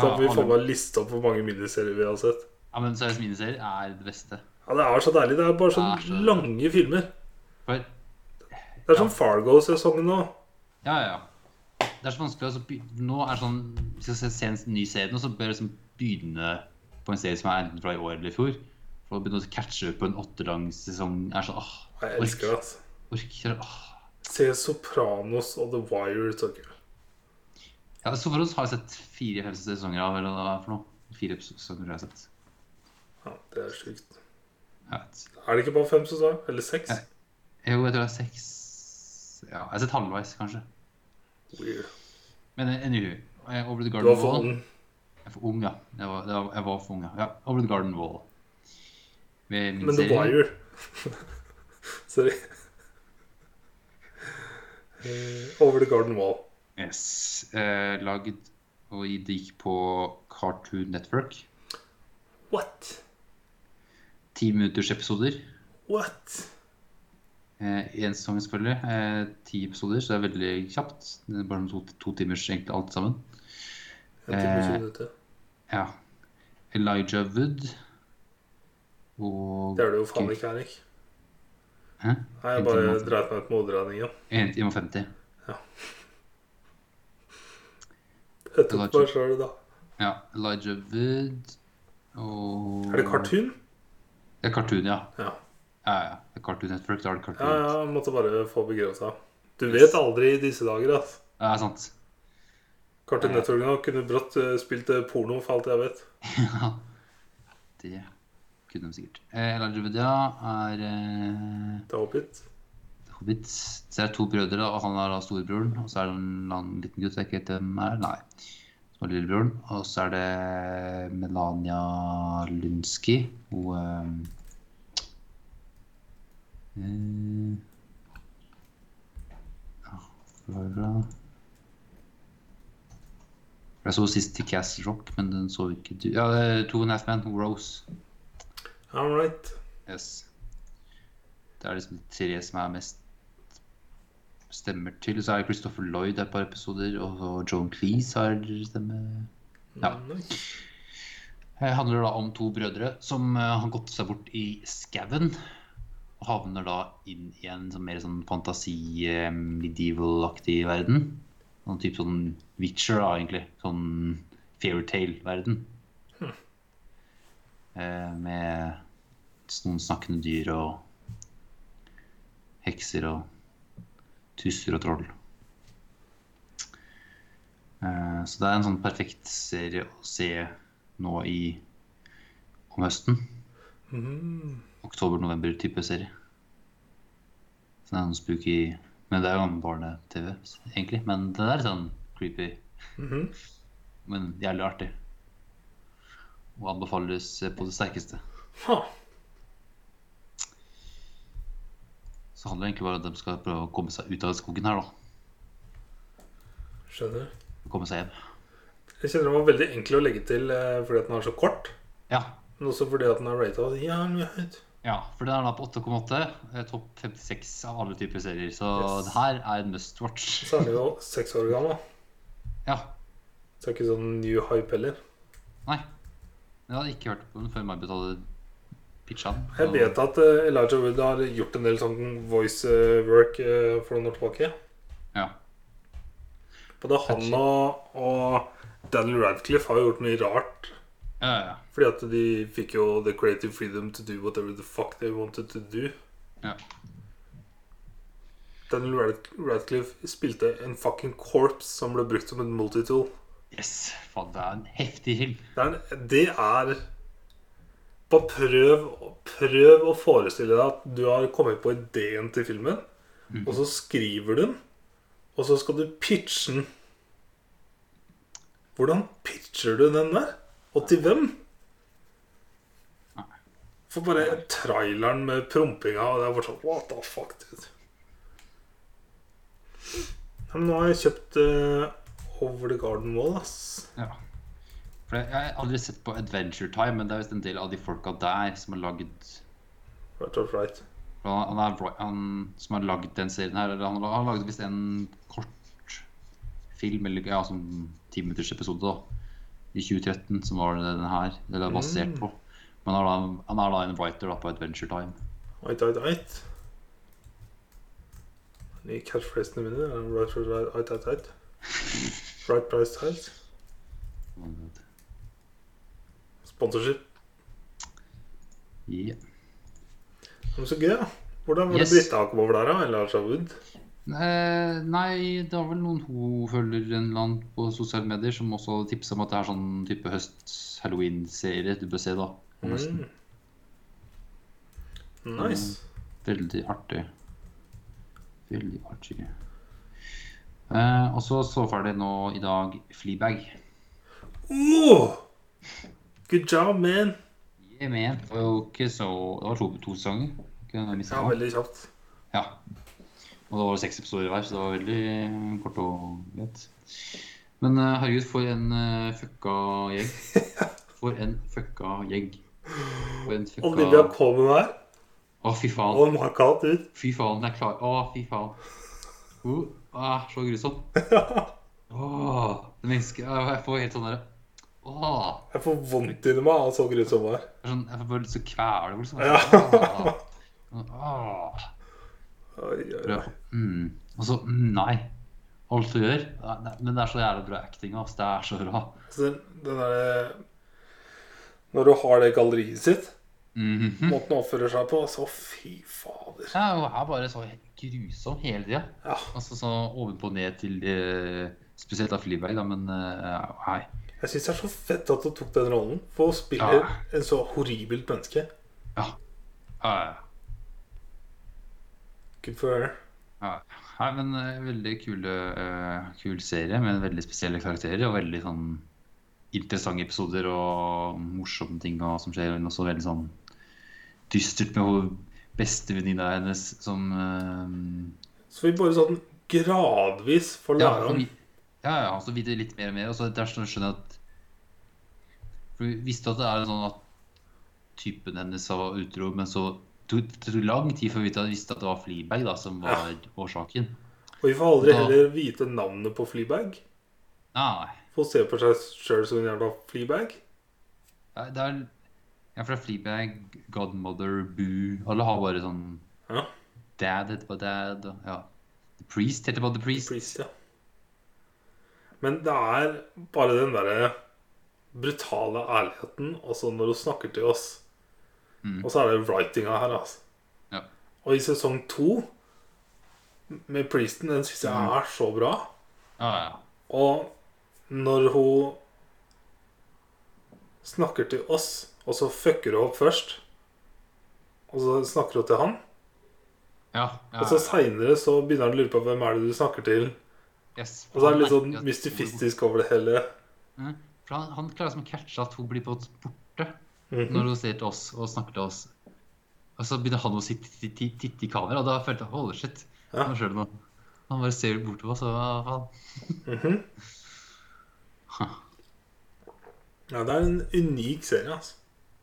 Speaker 1: Da får vi
Speaker 2: alle-
Speaker 1: faen meg liste opp hvor mange miniserier vi har sett.
Speaker 2: ja, men seriøst, miniserier er det beste.
Speaker 1: Ja, Det er så deilig. Det er bare
Speaker 2: Det er
Speaker 1: sånne
Speaker 2: så-
Speaker 1: lange filmer.
Speaker 2: For,
Speaker 1: Det er sånn Fargo-sesongen nå.
Speaker 2: ja, ja, ja. Det er så vanskelig altså, by- Nå er det sånn Vi skal se, se en ny serie nå, så bør jeg liksom begynne på en serie som er enten fra i år eller i fjor. For å begynne å catche på en åttelang sesong er sånn åh,
Speaker 1: Jeg elsker det. altså.
Speaker 2: orker åh.
Speaker 1: Se Sopranos og The Wire. så gøy.
Speaker 2: Ja, så for oss har jeg sett fire-fem sesonger av eller hva det er for noe. Fire sesonger har jeg sett.
Speaker 1: Ja, det er sjukt.
Speaker 2: Jeg vet.
Speaker 1: Er det ikke bare fem sesonger? Eller seks?
Speaker 2: Nei. Jo, jeg tror det er seks Ja, jeg har sett halvveis, kanskje.
Speaker 1: Weird.
Speaker 2: Men anywho. eh, Over the
Speaker 1: Du
Speaker 2: Garden
Speaker 1: var for
Speaker 2: Wall.
Speaker 1: ung.
Speaker 2: Jeg er for ung, ja. Jeg var, det var, jeg var for ung, ja. ja. Over the Garden Wall. Ved min
Speaker 1: Men The
Speaker 2: serie.
Speaker 1: Wire Sorry. Eh, Over the Garden Wall.
Speaker 2: Yes. Eh, laget og det gikk på Cartoon Network.
Speaker 1: What?
Speaker 2: Ti minutters episoder.
Speaker 1: What?
Speaker 2: Eh, Én sesong, selvfølgelig. Eh, ti episoder, så det er veldig kjapt. Det er bare to, to timers egentlig alt sammen.
Speaker 1: En time og
Speaker 2: Eh,
Speaker 1: 20 minutter.
Speaker 2: Ja. Elijah Wood og
Speaker 1: Det er det jo faen ikke, Henrik.
Speaker 2: Hæ?
Speaker 1: Nei, jeg
Speaker 2: En time
Speaker 1: bare
Speaker 2: og-
Speaker 1: dreit meg ut med hoderegningen.
Speaker 2: En time og 50.
Speaker 1: Ja. Etterpå
Speaker 2: Elijah.
Speaker 1: så er det da
Speaker 2: Ja, Elijah Wood og
Speaker 1: Er det cartoon?
Speaker 2: Det er cartoon, ja.
Speaker 1: Ja.
Speaker 2: Ja, ja. Det er Cartoon Network, da er det
Speaker 1: Ja,
Speaker 2: cartoon.
Speaker 1: ja, jeg måtte bare få begrunnet. Du
Speaker 2: Yes.
Speaker 1: vet aldri i disse dager, altså.
Speaker 2: Det er sant.
Speaker 1: Cartoon
Speaker 2: Nei.
Speaker 1: Network nå kunne brått eh, spilt eh, porno for alt jeg vet.
Speaker 2: Ja, det kunne de sikkert. Eh, Elijah Wood, ja, er eh,
Speaker 1: Det er Hobbit.
Speaker 2: Hobbit. Så er det to brødre, da, og han er da storebroren. Og så er det en eller annen liten gutt, jeg vet ikke hvem er, nei, som er lillebroren. Og så er det Melania Lunsky, hun eh, eh, ja, hvor var det fra? Jeg så sist til Castle Rock, men den så ikke du. Ja, det er Two and a Half Men, Rose.
Speaker 1: I'm right.
Speaker 2: Yes. Det er liksom de tre som er mest stemmer til. Så er Christopher Lloyd et par episoder, og så Joan Cleese har stemme. Ja.
Speaker 1: Mm, nei.
Speaker 2: Det Eh, handler da om to brødre som eh, har gått seg bort i skauen. Og havner da inn i en sånn mer sånn fantasi-medieval-aktig verden. Sånn type sånn Witcher, da, egentlig. Sånn fairytale-verden. Eh, med noen snakkende dyr og hekser og tusser og troll. Eh, så det er en sånn perfekt serie å se nå i om høsten.
Speaker 1: Mm.
Speaker 2: Oktober-november-type serie. Så det er noen spooky Men det er jo en barne-TV, egentlig. Men det er sånn creepy.
Speaker 1: Mhm.
Speaker 2: Men jævlig artig. Og anbefales på det sterkeste.
Speaker 1: Ha.
Speaker 2: Så handler det egentlig bare om at de skal prøve å komme seg ut av skogen her, da.
Speaker 1: Skjønner.
Speaker 2: Komme seg hjem.
Speaker 1: Jeg kjenner den var veldig enkel å legge til eh, fordi at den er så kort.
Speaker 2: Ja.
Speaker 1: Men også fordi at den er rata jævlig høyt.
Speaker 2: ja for den er da på 8,8. eh, Topp 56 av alle typer serier. Så
Speaker 1: Yes.
Speaker 2: det her er en must watch.
Speaker 1: Så er den jo seks år gammel. da.
Speaker 2: Ja.
Speaker 1: Så det er ikke sånn new hype heller.
Speaker 2: Nei. Jeg hadde ikke hørt på den før Marbet hadde pitcha den.
Speaker 1: Jeg vet at eh, Elijah Wood har gjort en del sånn voice eh, work eh, for noen år tilbake.
Speaker 2: Ja.
Speaker 1: Både han og, og Daniel Radcliffe har jo gjort mye rart.
Speaker 2: Ja, ja,
Speaker 1: Fordi at de fikk jo the creative freedom to do whatever the fuck they wanted to do.
Speaker 2: Ja.
Speaker 1: Daniel Rad- Radcliffe spilte en fucking corpse som ble brukt som en multitool.
Speaker 2: ja. Yes. Faen, det er en heftig film.
Speaker 1: Det er, en- det er Bare prøv, prøv å forestille deg at du har kommet på ideen til filmen, og så skriver du den, og så skal du pitche den. Hvordan pitcher du den der? Og til hvem? For bare traileren med prompinga og det er bare sånn What the fuck, dude? Ja, men nå har jeg kjøpt eh, Over the Garden Wall, ass.
Speaker 2: Ja. For jeg jeg har aldri sett på Adventure Time, men det er visst en del av de folka der som har lagd
Speaker 1: Right or right.
Speaker 2: han, han, er, Roy- han som har lagd den serien her, eller han har lagd visst en kort film, eller ja, sånn timinuttersepisode, da, i 2013, som var den her, eller er basert på. Men han er, da, han er da en writer da, på Adventure Time.
Speaker 1: Ait, ait, ait. De catchphrasene mine er right, right, right, ait, ait, ait. Right price tight. Sponsorship.
Speaker 2: Yeah.
Speaker 1: Men så gøy, da. Hvordan var det
Speaker 2: Yes.
Speaker 1: Britta kom over der, da? Eller Arsha Wood?
Speaker 2: Eh, nei, det var vel noen hun følger en eller annen på sosiale medier som også hadde tipsa om at det er sånn type høst-halloween-serie du bør se, da. om høsten.
Speaker 1: Mm. Nice.
Speaker 2: Veldig artig. Veldig artig. Eh, og så så ferdig nå i dag Fleabag.
Speaker 1: Oh! Good job, man.
Speaker 2: Jeg mente det var jo ikke så Det var to, to sanger. Ikke noe
Speaker 1: Ja,
Speaker 2: misforstått.
Speaker 1: veldig kjapt.
Speaker 2: Ja. Og det var jo seks episoder hver, så det var veldig kort og lett. Men eh, herregud, for en eh, fucka gjeng. For en fucka gjeng. For en fucka
Speaker 1: Olivia
Speaker 2: Å,
Speaker 1: Colman her.
Speaker 2: fy faen.
Speaker 1: Oh my god, dude.
Speaker 2: Fy faen, jeg er klar. Å, fy faen. Hun er så grusom. Åh, det mennesket Jeg får helt sånn derre Åh.
Speaker 1: Jeg får vondt inni meg av så grusom hun er.
Speaker 2: Jeg, er sånn, jeg får bare lyst til å kvele henne, liksom. sånn,
Speaker 1: Ja.
Speaker 2: Åh. Åh.
Speaker 1: Oi, oi, oi.
Speaker 2: Prøv. Mm. Og så mm, Nei. alt å gjøre. Nei, nei, Men det er så jævlig bra acting. ass. Det er så bra.
Speaker 1: Så den, den der, eh, når du har det galleriet sitt,
Speaker 2: Mhm.
Speaker 1: måten han oppfører seg på, så fy fader.
Speaker 2: Ja, og er bare så helt grusom hele tida.
Speaker 1: Ja.
Speaker 2: Altså så ovenpå og ned til eh, Spesielt av Fleabag, da, men eh, hei.
Speaker 1: Jeg syns det er så fett at du tok den rollen. For å spille
Speaker 2: Ja.
Speaker 1: en så horribelt menneske.
Speaker 2: Ja, ja,
Speaker 1: Good for her.
Speaker 2: ja. Nei, men eh, veldig kul, eh, kul serie med veldig spesielle karakterer og veldig sånn interessante episoder og morsomme ting og, som skjer. Men også veldig sånn dystert med hvor bestevenninna hennes som eh,
Speaker 1: Så vi bare sånn gradvis får
Speaker 2: Ja,
Speaker 1: lære
Speaker 2: og
Speaker 1: om
Speaker 2: vi, ja, ja, og så videre litt mer og mer. Og så etter hvert så skjønner jeg at For vi visste at det er sånn at typen hennes var utro, men så tok det tok lang tid før vi visste at- visste at det var Fleabag da, som var årsaken.
Speaker 1: Og vi får aldri
Speaker 2: Da-
Speaker 1: heller vite navnet på Fleabag.
Speaker 2: Nei,
Speaker 1: Får se på seg sjøl som en jævla Fleabag.
Speaker 2: nei, det er Ja, for det er Fleabag, Godmother, Boo Alle har bare sånn
Speaker 1: Ja.
Speaker 2: Dad heter bare Dad. og- Ja. The Priest heter bare The Priest.
Speaker 1: Priest, ja. Men det er bare den derre brutale ærligheten også når hun snakker til oss.
Speaker 2: Mm.
Speaker 1: Og så er det writinga her, altså.
Speaker 2: Ja.
Speaker 1: Og i sesong to med Priesten, den syns
Speaker 2: Mm.
Speaker 1: jeg er så bra.
Speaker 2: Ja, ja.
Speaker 1: Og når hun snakker til oss, og så fucker hun opp først, og så snakker hun til han,
Speaker 2: ja, ja,
Speaker 1: og så seinere så begynner han å lure på hvem er det du snakker til,
Speaker 2: yes.
Speaker 1: og så er det litt
Speaker 2: Han
Speaker 1: sånn
Speaker 2: merker at-
Speaker 1: mystifistisk over det hele.
Speaker 2: Ja, For han, han klarer liksom å catche at hun blir på borte
Speaker 1: Mhm.
Speaker 2: når hun ser til oss og snakker til oss. Og så begynner han å sitte, titte, titte i kamera, og da følte jeg Holy shit.
Speaker 1: Ja.
Speaker 2: Nå skjer det noe. Han bare ser bort på oss, og hva faen.
Speaker 1: Mhm. Ja, det er en unik serie, altså.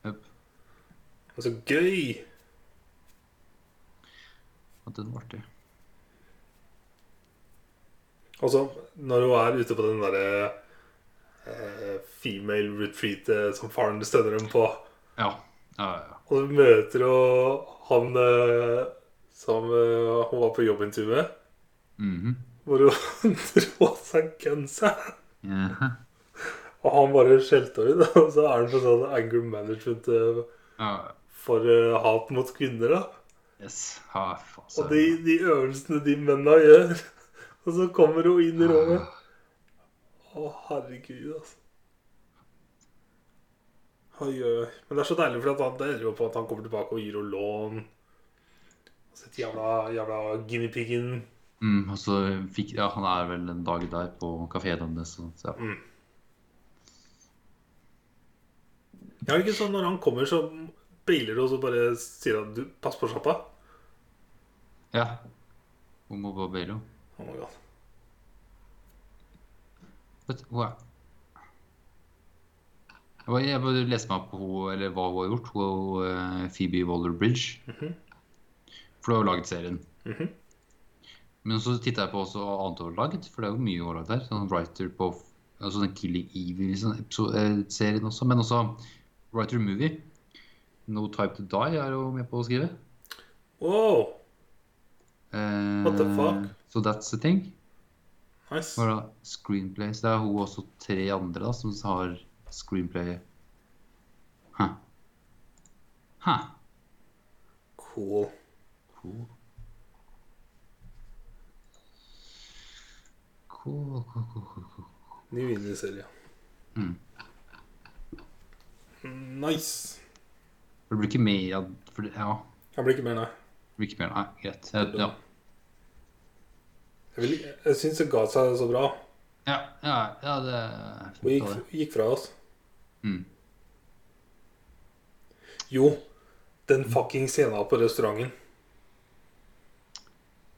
Speaker 2: Jøp.
Speaker 1: Og så gøy!
Speaker 2: Og den var artig.
Speaker 1: Og så når hun er ute på den derre eh, female retreatet som faren stønner dem på,
Speaker 2: Ja. Ja, ja, ja.
Speaker 1: og du møter jo han eh, som eh, hun var på jobbintervju med,
Speaker 2: Mhm.
Speaker 1: hvor hun dro av seg genseren,
Speaker 2: Ja.
Speaker 1: og han bare skjelte henne ut, og så er han på sånn anger management eh,
Speaker 2: Ja, ja.
Speaker 1: for eh, hat mot kvinner, da.
Speaker 2: Yes. Ja, faen.
Speaker 1: Og de, de øvelsene de mennene gjør. Og så kommer hun inn i rommet. Å, herregud, altså. Oi, oi, oi. Men det er så deilig, for at han, det ender jo på at han kommer tilbake og gir henne lån. Og så et jævla, jævla guinea piggen.
Speaker 2: Mm, og så fikk Ja, han er vel en dag der på kafeen hennes, så så ja.
Speaker 1: Ja, ikke sånn når han kommer, så beiler hun og så bare sier han du, pass på sjappa.
Speaker 2: ja. Hun må bare baile, hun.
Speaker 1: Oh my god.
Speaker 2: Vet du, hun er Jeg bare, jeg bare leste meg opp på hun, eller hva hun har gjort. Hun er jo, eh, Phoebe Waller-Bridge.
Speaker 1: Mhm.
Speaker 2: For hun har jo laget serien.
Speaker 1: Mhm.
Speaker 2: Men så titta jeg på også annet hun har laget, for det er jo mye hun har laget der. Sånn writer på altså den Killing sånn Evie-serien eh, også, men også writer movie. No Type To Die er hun med på å skrive.
Speaker 1: Wow,
Speaker 2: Eh,
Speaker 1: What the fuck?
Speaker 2: So that's the thing.
Speaker 1: nice.
Speaker 2: Hva da? Screenplay. Så det er hun også tre andre da, som har screenplay. Hæ. Hæ.
Speaker 1: Cool.
Speaker 2: Cool. Cool, cool, cool, cool, cool.
Speaker 1: Ny vinnerserie.
Speaker 2: Mm.
Speaker 1: Nice.
Speaker 2: For det blir ikke mer av for det, Ja,
Speaker 1: Jeg blir ikke mer, nei.
Speaker 2: det blir ikke mer. Nei, greit. Ja, ja.
Speaker 1: Jeg, vil, jeg syns det ga seg så bra.
Speaker 2: ja, ja, ja det er
Speaker 1: Og
Speaker 2: fint.
Speaker 1: gikk,
Speaker 2: av det.
Speaker 1: gikk fra oss.
Speaker 2: Mm.
Speaker 1: Jo, den fucking scenen på restauranten.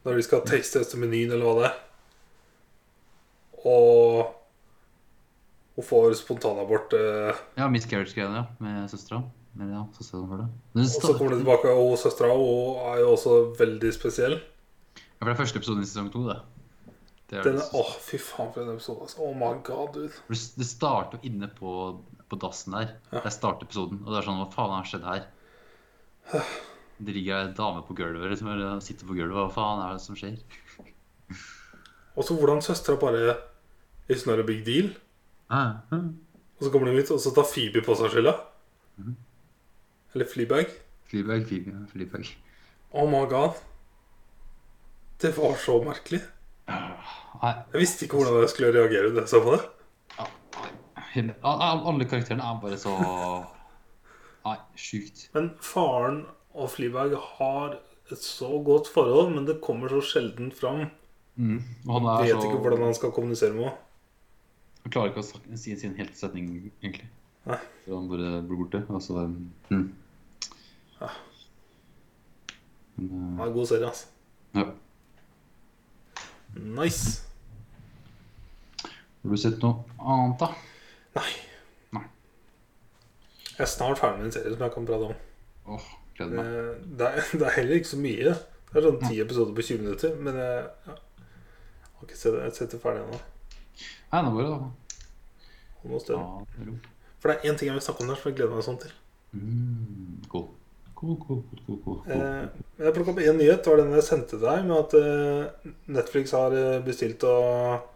Speaker 1: Når de skal taste-teste menyen, eller hva det er. Og hun får spontanabort. eh,
Speaker 2: Ja, miscarriage-greiene, ja. Med søstera. Eller ja, søstera for det.
Speaker 1: Og så kommer det tilbake, og søstera hun er jo også veldig spesiell.
Speaker 2: Ja, for det er første episoden i sesong to, det. Det er
Speaker 1: Den,
Speaker 2: det-
Speaker 1: åh, fy faen for en episode. Altså. Oh my god, dude.
Speaker 2: For Det det starter jo inne på, på dassen der.
Speaker 1: Ja.
Speaker 2: Der starter episoden. Og det er sånn Hva faen har skjedd her? Det ligger ei dame på gulvet liksom, eller sitter på gulvet. Hva faen er det som skjer?
Speaker 1: Og så hvordan søstera bare It's not a big deal.
Speaker 2: Ah, ah.
Speaker 1: Og så kommer de ut, og så tar Phoebe på seg skylda.
Speaker 2: Mhm.
Speaker 1: Eller Fleabag.
Speaker 2: Fleabag, Fleabag, Fleabag.
Speaker 1: Oh my god. Det var så merkelig.
Speaker 2: Nei,
Speaker 1: Jeg visste ikke hvordan jeg skulle reagere da jeg så på det.
Speaker 2: hele, al- al- alle karakterene er bare så Nei, sjukt.
Speaker 1: Men faren og Fleabag har et så godt forhold, men det kommer så sjelden fram.
Speaker 2: Mm. Og han er
Speaker 1: Vet
Speaker 2: så
Speaker 1: ikke hvordan han skal kommunisere med henne.
Speaker 2: Han klarer ikke å snakke, si sin helt setning, egentlig.
Speaker 1: Nei.
Speaker 2: Så han bare blir borte. Altså, mm.
Speaker 1: Ja.
Speaker 2: Men,
Speaker 1: Det er en god serie, altså.
Speaker 2: eh, ja.
Speaker 1: Nice.
Speaker 2: eh, Har du sett noe annet, da?
Speaker 1: Nei.
Speaker 2: Nei.
Speaker 1: Jeg er snart ferdig med en serie som jeg kan prate om.
Speaker 2: Åh, gleder meg.
Speaker 1: Eh, Det er, det er heller ikke så mye. Det er sånn ti episoder på 20 minutter, men jeg, ja. jeg har ikke sett, jeg har sett det ferdig ennå.
Speaker 2: Nei, nå bare da.
Speaker 1: Om noe sted.
Speaker 2: Ja, det er ro.
Speaker 1: For det er én ting jeg vil snakke om der som jeg gleder meg sånn til.
Speaker 2: Mm, cool. Cool, cool, cool, cool, cool, cool.
Speaker 1: Eh, jeg plukka opp én nyhet. Det var den jeg sendte til deg, med at eh, Netflix har eh, bestilt og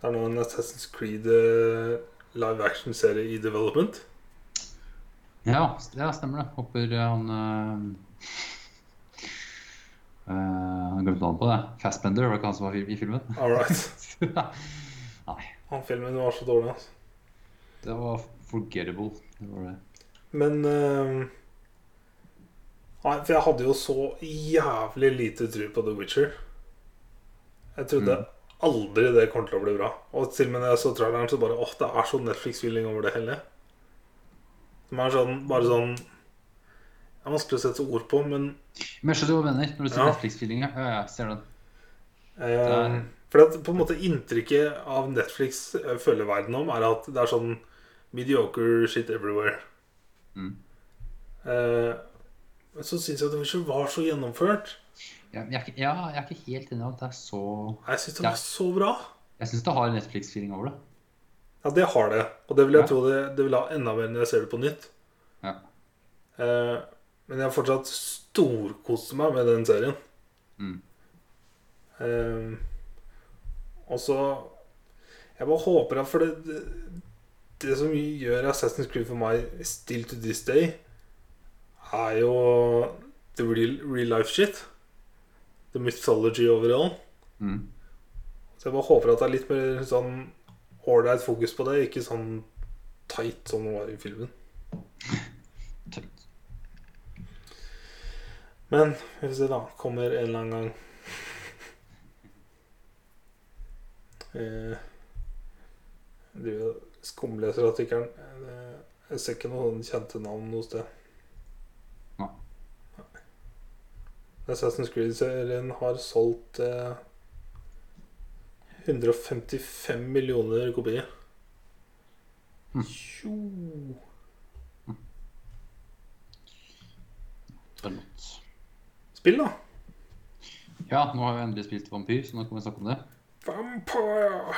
Speaker 1: Det er nå en Assassin's Creed eh, live action-serie i development.
Speaker 2: Ja, st- ja, stemmer det. Håper eh, han eh, eh, Han glemte navnet på det. Fassbender, var det ikke han som var i- i filmen?
Speaker 1: All right.
Speaker 2: Nei,
Speaker 1: Han filmen var så dårlig, altså.
Speaker 2: det var forgettable. Det var det.
Speaker 1: Men eh, Nei, for jeg hadde jo så jævlig lite tro på The Witcher. Jeg trodde aldri det kom til å bli bra. Og til og med når jeg så traileren, så bare Åh, det er så Netflix-feeling over det hele. Som er sånn Bare sånn Det er vanskelig å sette ord på, men
Speaker 2: Men jeg skjønner hva du mener når du sier
Speaker 1: Ja.
Speaker 2: Netflix-feelinga. Ja, ja, jeg ser den.
Speaker 1: Eh,
Speaker 2: Der.
Speaker 1: for at på en måte inntrykket av Netflix eh, følger verden om, er at det er sånn mediocre shit everywhere.
Speaker 2: Mm.
Speaker 1: Eh, men så syns jeg at det ikke var så gjennomført.
Speaker 2: Ja, men jeg, er ikke- ja, jeg er ikke helt enig i at det er så
Speaker 1: Jeg syns det
Speaker 2: Ja.
Speaker 1: var så bra.
Speaker 2: Jeg syns det har Netflix-feeling over det.
Speaker 1: Ja, det har det. Og det vil jeg
Speaker 2: Ja.
Speaker 1: tro det, det vil ha enda mer når jeg ser det på nytt.
Speaker 2: Ja.
Speaker 1: Eh, men jeg har fortsatt storkost meg med den serien.
Speaker 2: Mm.
Speaker 1: Eh, og så Jeg bare håper at For det, det, det som gjør Assassin's Creed for meg still to this day, er jo the real, real life shit. The mythology overall.
Speaker 2: Mm.
Speaker 1: Så jeg bare håper at det er litt mer sånn ålreit fokus på det, ikke sånn tight som det var i filmen.
Speaker 2: Tøft.
Speaker 1: Men vi får se, da. Kommer en eller annen gang. Eh, jeg driver og skumleser artikkelen. Eh, Jeg ser ikke noen kjente navn noe sted.
Speaker 2: Nei.
Speaker 1: Nei. Assassin's Creed-serien har solgt eh, 155 millioner kopier.
Speaker 2: Hm.
Speaker 1: Tjo!
Speaker 2: Det er godt.
Speaker 1: Spill, da!
Speaker 2: Ja, nå har jeg endelig spilt Vampyr, så nå kan vi snakke om det.
Speaker 1: Vampire!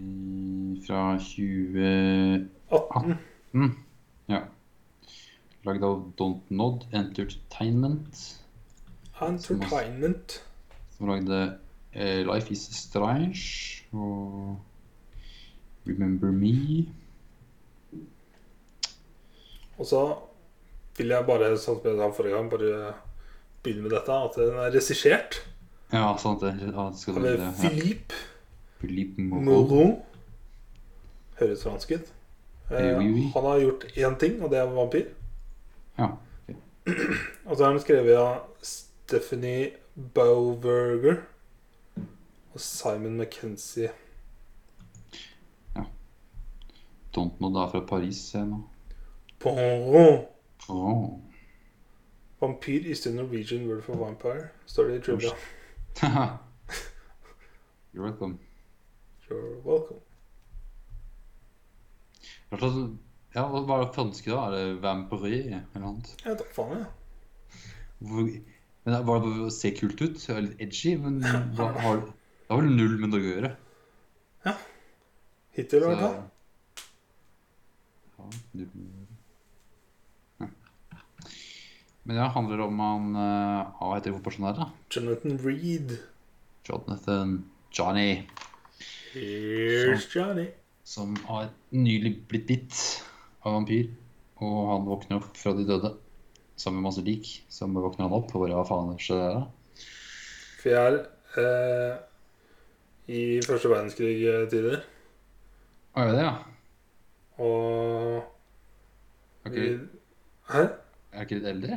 Speaker 2: Mm, Fra 20...
Speaker 1: 18.
Speaker 2: Mm. Ja. Lagd av Don't Nod Entertainment,
Speaker 1: Entertainment.
Speaker 2: som lagde eh, Life Is Strange og Remember Me.
Speaker 1: Og så vil jeg bare, sånn som jeg sa forrige gang, bare begynne med dette. At den er regissert
Speaker 2: Ja, sant det. Ja, det skal
Speaker 1: av
Speaker 2: du ja.
Speaker 1: Philippe
Speaker 2: Philippe Moreau.
Speaker 1: Moreau. Høres fransk ut.
Speaker 2: Eh, oui, oui.
Speaker 1: Eh, Han har gjort én ting, og det er vampyr.
Speaker 2: Ja.
Speaker 1: Og så er den skrevet av Stephanie Bauberger og Simon McKenzie.
Speaker 2: Don't Nod er fra Paris, ser jeg nå.
Speaker 1: Poirot.
Speaker 2: Åh.
Speaker 1: Vampyr is the Norwegian word for vampire. Står det i trivia.
Speaker 2: You're welcome.
Speaker 1: You're welcome.
Speaker 2: Hva slags- Ja, hva hva er det franske, da? Er det Vampyr eller noe annet?
Speaker 1: Jeg vet da faen, jeg.
Speaker 2: Hvor, men det var det bare å se kult ut? Det var Litt edgy, men hva har det har vel null med Norge å gjøre.
Speaker 1: Hittil, i
Speaker 2: Så,
Speaker 1: hvert fall.
Speaker 2: ja, null med Norge å gjøre. Hm. Men ja, handler det om han eh, Hva heter hovedpersonen her, da?
Speaker 1: Jonathan Reed.
Speaker 2: Jonathan Johnny,
Speaker 1: Here's Johnny.
Speaker 2: som har nylig blitt bitt av vampyr. Og han våkner opp fra de døde sammen med masse lik. Så våkner han opp og bare hva faen skjer der? da?
Speaker 1: For jeg er eh, i første verdenskrig-tider,
Speaker 2: Å, er det det, ja?
Speaker 1: og
Speaker 2: Er
Speaker 1: vi
Speaker 2: ikke,
Speaker 1: Hæ?
Speaker 2: er ikke litt eldre?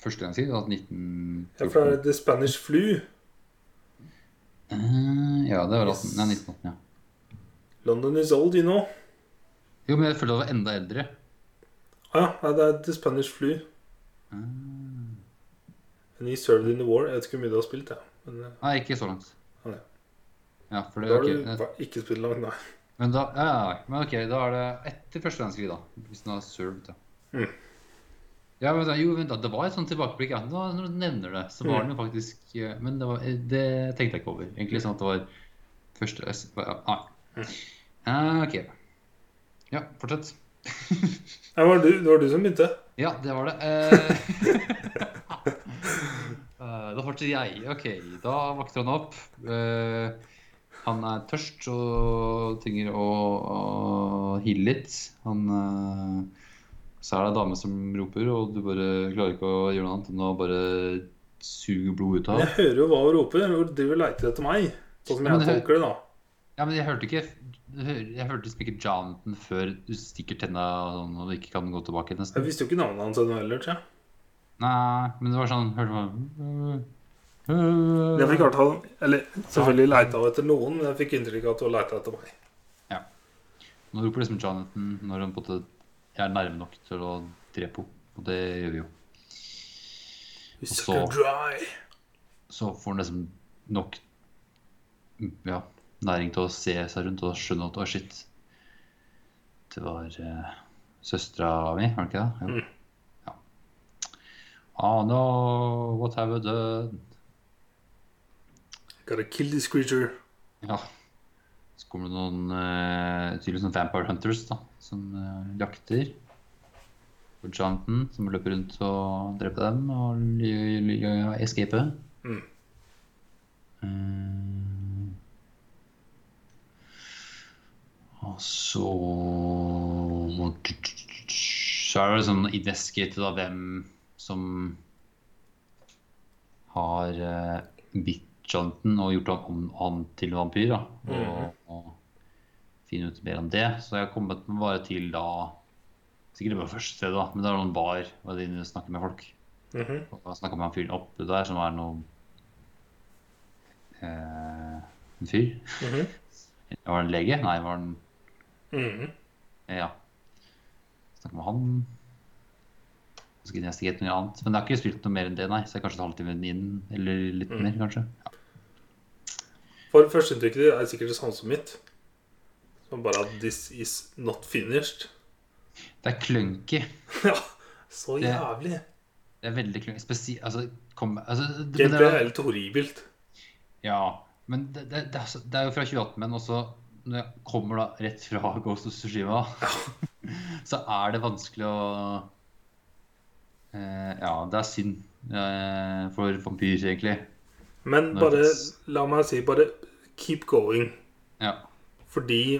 Speaker 2: Første gang siden, da, 1914.
Speaker 1: Ja, for det er The Spanish Flu.
Speaker 2: Eh, ja, det var 18, nei, 1918, ja.
Speaker 1: London is old, you know.
Speaker 2: Jo, men jeg føler det var enda eldre.
Speaker 1: Ah, ja, nei, det er The Spanish Flu.
Speaker 2: Ah.
Speaker 1: And he served in the war. Jeg vet ikke hvor mye du har spilt, jeg. Men eh,
Speaker 2: Nei, ikke så langt.
Speaker 1: Å, ja.
Speaker 2: Ja, for
Speaker 1: da
Speaker 2: det,
Speaker 1: har
Speaker 2: ok,
Speaker 1: du
Speaker 2: eh,
Speaker 1: bare ikke spilt langt, nei.
Speaker 2: men, da, ja, ja, men ok, da er det etter første verdenskrig, da. Hvis den har served, da.
Speaker 1: Mm.
Speaker 2: Ja, men, da- jo, vent, da, det var et sånt tilbakeblikk. Ja. Nå, når du nevner det, så
Speaker 1: Mm.
Speaker 2: var den jo faktisk eh, Men det, var, eh, det tenkte jeg ikke over. Egentlig sånn at det var første S- ja, Nei.
Speaker 1: Mm.
Speaker 2: Eh, ok. Ja, fortsett.
Speaker 1: Nei, det var du, det var du som begynte.
Speaker 2: Ja, det var det. Eh, eh, da fortsetter jeg. Ok, da vakter han opp. Eh, han er tørst og trenger å, å hile litt. Han, eh, så er det ei dame som roper, og du bare klarer ikke å gjøre noe annet enn å bare suge blod ut av
Speaker 1: Men
Speaker 2: ham.
Speaker 1: jeg hører jo hva hun roper. Hun driver og leter etter meg. Sånn som
Speaker 2: Ja, men
Speaker 1: jeg
Speaker 2: det-
Speaker 1: tolker det, da.
Speaker 2: Ja, men jeg hørte ikke Jeg hø- jeg hørte liksom ikke Jonathan før du stikker tenna sånn og du ikke kan gå tilbake. nesten.
Speaker 1: Jeg visste jo ikke navnet hans ennå heller, tror jeg.
Speaker 2: Nei, men det var sånn Hørte man
Speaker 1: Men Jeg fikk klart han, eller selvfølgelig leita hun etter noen, men jeg fikk inntrykk av at hun leita etter meg.
Speaker 2: Nå roper liksom Jonathan når han på en måte er nærme nok til å drepe henne. Og det gjør vi jo.
Speaker 1: You
Speaker 2: Og
Speaker 1: suck
Speaker 2: så-
Speaker 1: her dry.
Speaker 2: Så får han liksom nok ja, næring til å se seg rundt og skjønne at å, shit. Det var uh, søstera mi, var det ikke det? Jo.
Speaker 1: Mm.
Speaker 2: Ja. Ah, no, what have you done?
Speaker 1: Gotta kill this creature.
Speaker 2: Ja. Så kommer det noen eh, tydeligvis noen Vampire Hunters da, som eh, jakter på Jonathan, som løper rundt og dreper dem og ly- ly- ly- escape.
Speaker 1: Mm.
Speaker 2: Eh, og så Så er det sånn investigate da hvem som har eh, bitt Jonathan og gjort han, han til vampyr. Da, og, og finne ut mer om det. Så jeg har kommet meg bare til da Sikkert det var første stedet, da, men det er noen bar og de snakker med folk.
Speaker 1: Mhm.
Speaker 2: Og Jeg snakka med han fyren oppe der som er noe eh, En fyr?
Speaker 1: Mhm.
Speaker 2: Var han lege? Nei, var han
Speaker 1: Mhm.
Speaker 2: Ja. Snakka med han. Så kunne jeg sikkert noe annet. Men jeg har ikke spilt noe mer enn det, nei. Så jeg er kanskje en halvtime inn, eller litt
Speaker 1: Mm.
Speaker 2: mer, kanskje.
Speaker 1: For førsteinntrykket ditt er sikkert det samme som mitt. Som bare at 'this is not finished'.
Speaker 2: Det er clunky.
Speaker 1: Ja, så
Speaker 2: Det-
Speaker 1: jævlig.
Speaker 2: Det er veldig clunky. Spesi... Altså, kom, altså det- men det
Speaker 1: Gameplay
Speaker 2: er-
Speaker 1: er helt horribelt.
Speaker 2: Ja, men det, det, det, er, så- det er jo fra 2018, men også når jeg kommer da rett fra Ghost of Tsushima, så er det vanskelig å eh, Ja, det er synd eh, for vampyr, egentlig.
Speaker 1: Men
Speaker 2: Nei,
Speaker 1: bare,
Speaker 2: det-
Speaker 1: la meg si, bare keep going.
Speaker 2: Ja.
Speaker 1: Fordi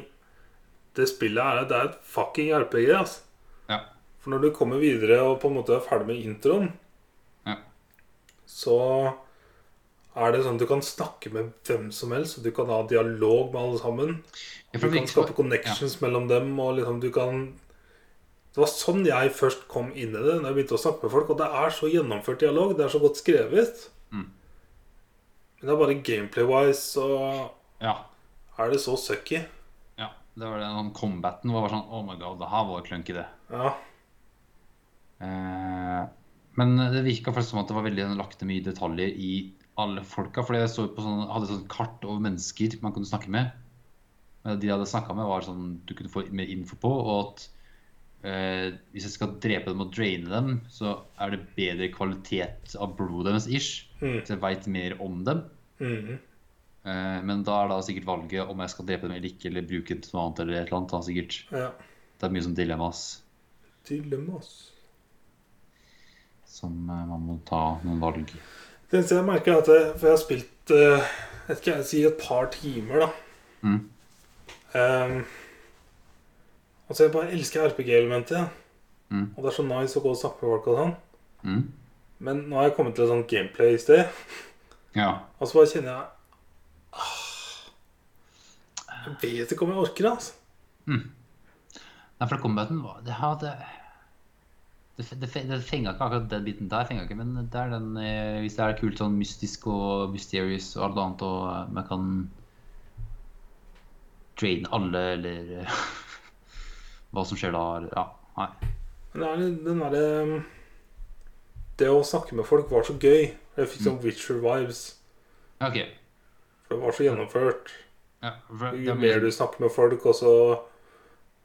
Speaker 1: det spillet er, det er et fucking RPG, altså.
Speaker 2: ja.
Speaker 1: For når du kommer videre og på en måte er ferdig med introen,
Speaker 2: Ja.
Speaker 1: så er det sånn at du kan snakke med hvem som helst, og du kan ha dialog med alle sammen. Du
Speaker 2: Ja, for
Speaker 1: kan
Speaker 2: det virker
Speaker 1: skape
Speaker 2: som-
Speaker 1: connections mellom dem, og liksom du kan Det var sånn jeg først kom inn i det, når jeg begynte å snakke med folk. Og det er så gjennomført dialog, det er så godt skrevet.
Speaker 2: Mm.
Speaker 1: Men det er bare gameplay-wise, så
Speaker 2: ja,
Speaker 1: er det så sucky.
Speaker 2: ja. Det var det, den combaten var bare sånn Oh my god, det her var clunky, det.
Speaker 1: Ja.
Speaker 2: Eh, men det virka faktisk som at det var veldig lagt ned mye detaljer i alle folka. For jeg så på sånn, hadde sånn kart over mennesker man kunne snakke med. Eh, De jeg hadde snakka med, var sånn du kunne få mer info på. Og at eh, hvis jeg skal drepe dem og draine dem, så er det bedre kvalitet av blodet deres ish.
Speaker 1: Mm.
Speaker 2: Så jeg veit mer om dem.
Speaker 1: Mhm.
Speaker 2: Eh, men da er da sikkert valget om jeg skal drepe dem eller ikke, eller bruke dem til noe annet. eller et eller annet, da, sikkert.
Speaker 1: ja.
Speaker 2: Det er mye sånn dilemmas
Speaker 1: Dilemmas.
Speaker 2: som eh, man må ta noen valg i.
Speaker 1: Det eneste jeg merker, er at jeg, for jeg har spilt eh, vet ikke, jeg sier et par timer, da.
Speaker 2: Mm.
Speaker 1: Ehm, altså, jeg bare elsker RPG-elementet. jeg.
Speaker 2: Mm.
Speaker 1: Og det er så nice å gå og snakke med folk og sånn.
Speaker 2: Mm.
Speaker 1: Men nå har jeg kommet til et sånt gameplay i sted,
Speaker 2: Ja.
Speaker 1: og så bare kjenner jeg ah, Jeg vet ikke om jeg orker det, altså.
Speaker 2: Nei, for combaten var det, ja, det, det, fe- det, fe- det fenga ikke akkurat den biten der, fenga ikke, men det er den, eh, hvis det er kult sånn mystisk og mysterious og alt annet, og eh, man kan draine alle, eller eh, hva som skjer da, eller, ja, nei.
Speaker 1: Men det er litt- den derre um, Det å snakke med folk var så gøy. Jeg
Speaker 2: Mm.
Speaker 1: fikk sånn Witcher-vibes.
Speaker 2: Ja, Ok,
Speaker 1: For det var så gjennomført.
Speaker 2: ja, for det,
Speaker 1: Jo
Speaker 2: er
Speaker 1: mer
Speaker 2: mye-
Speaker 1: du snakker med folk, og så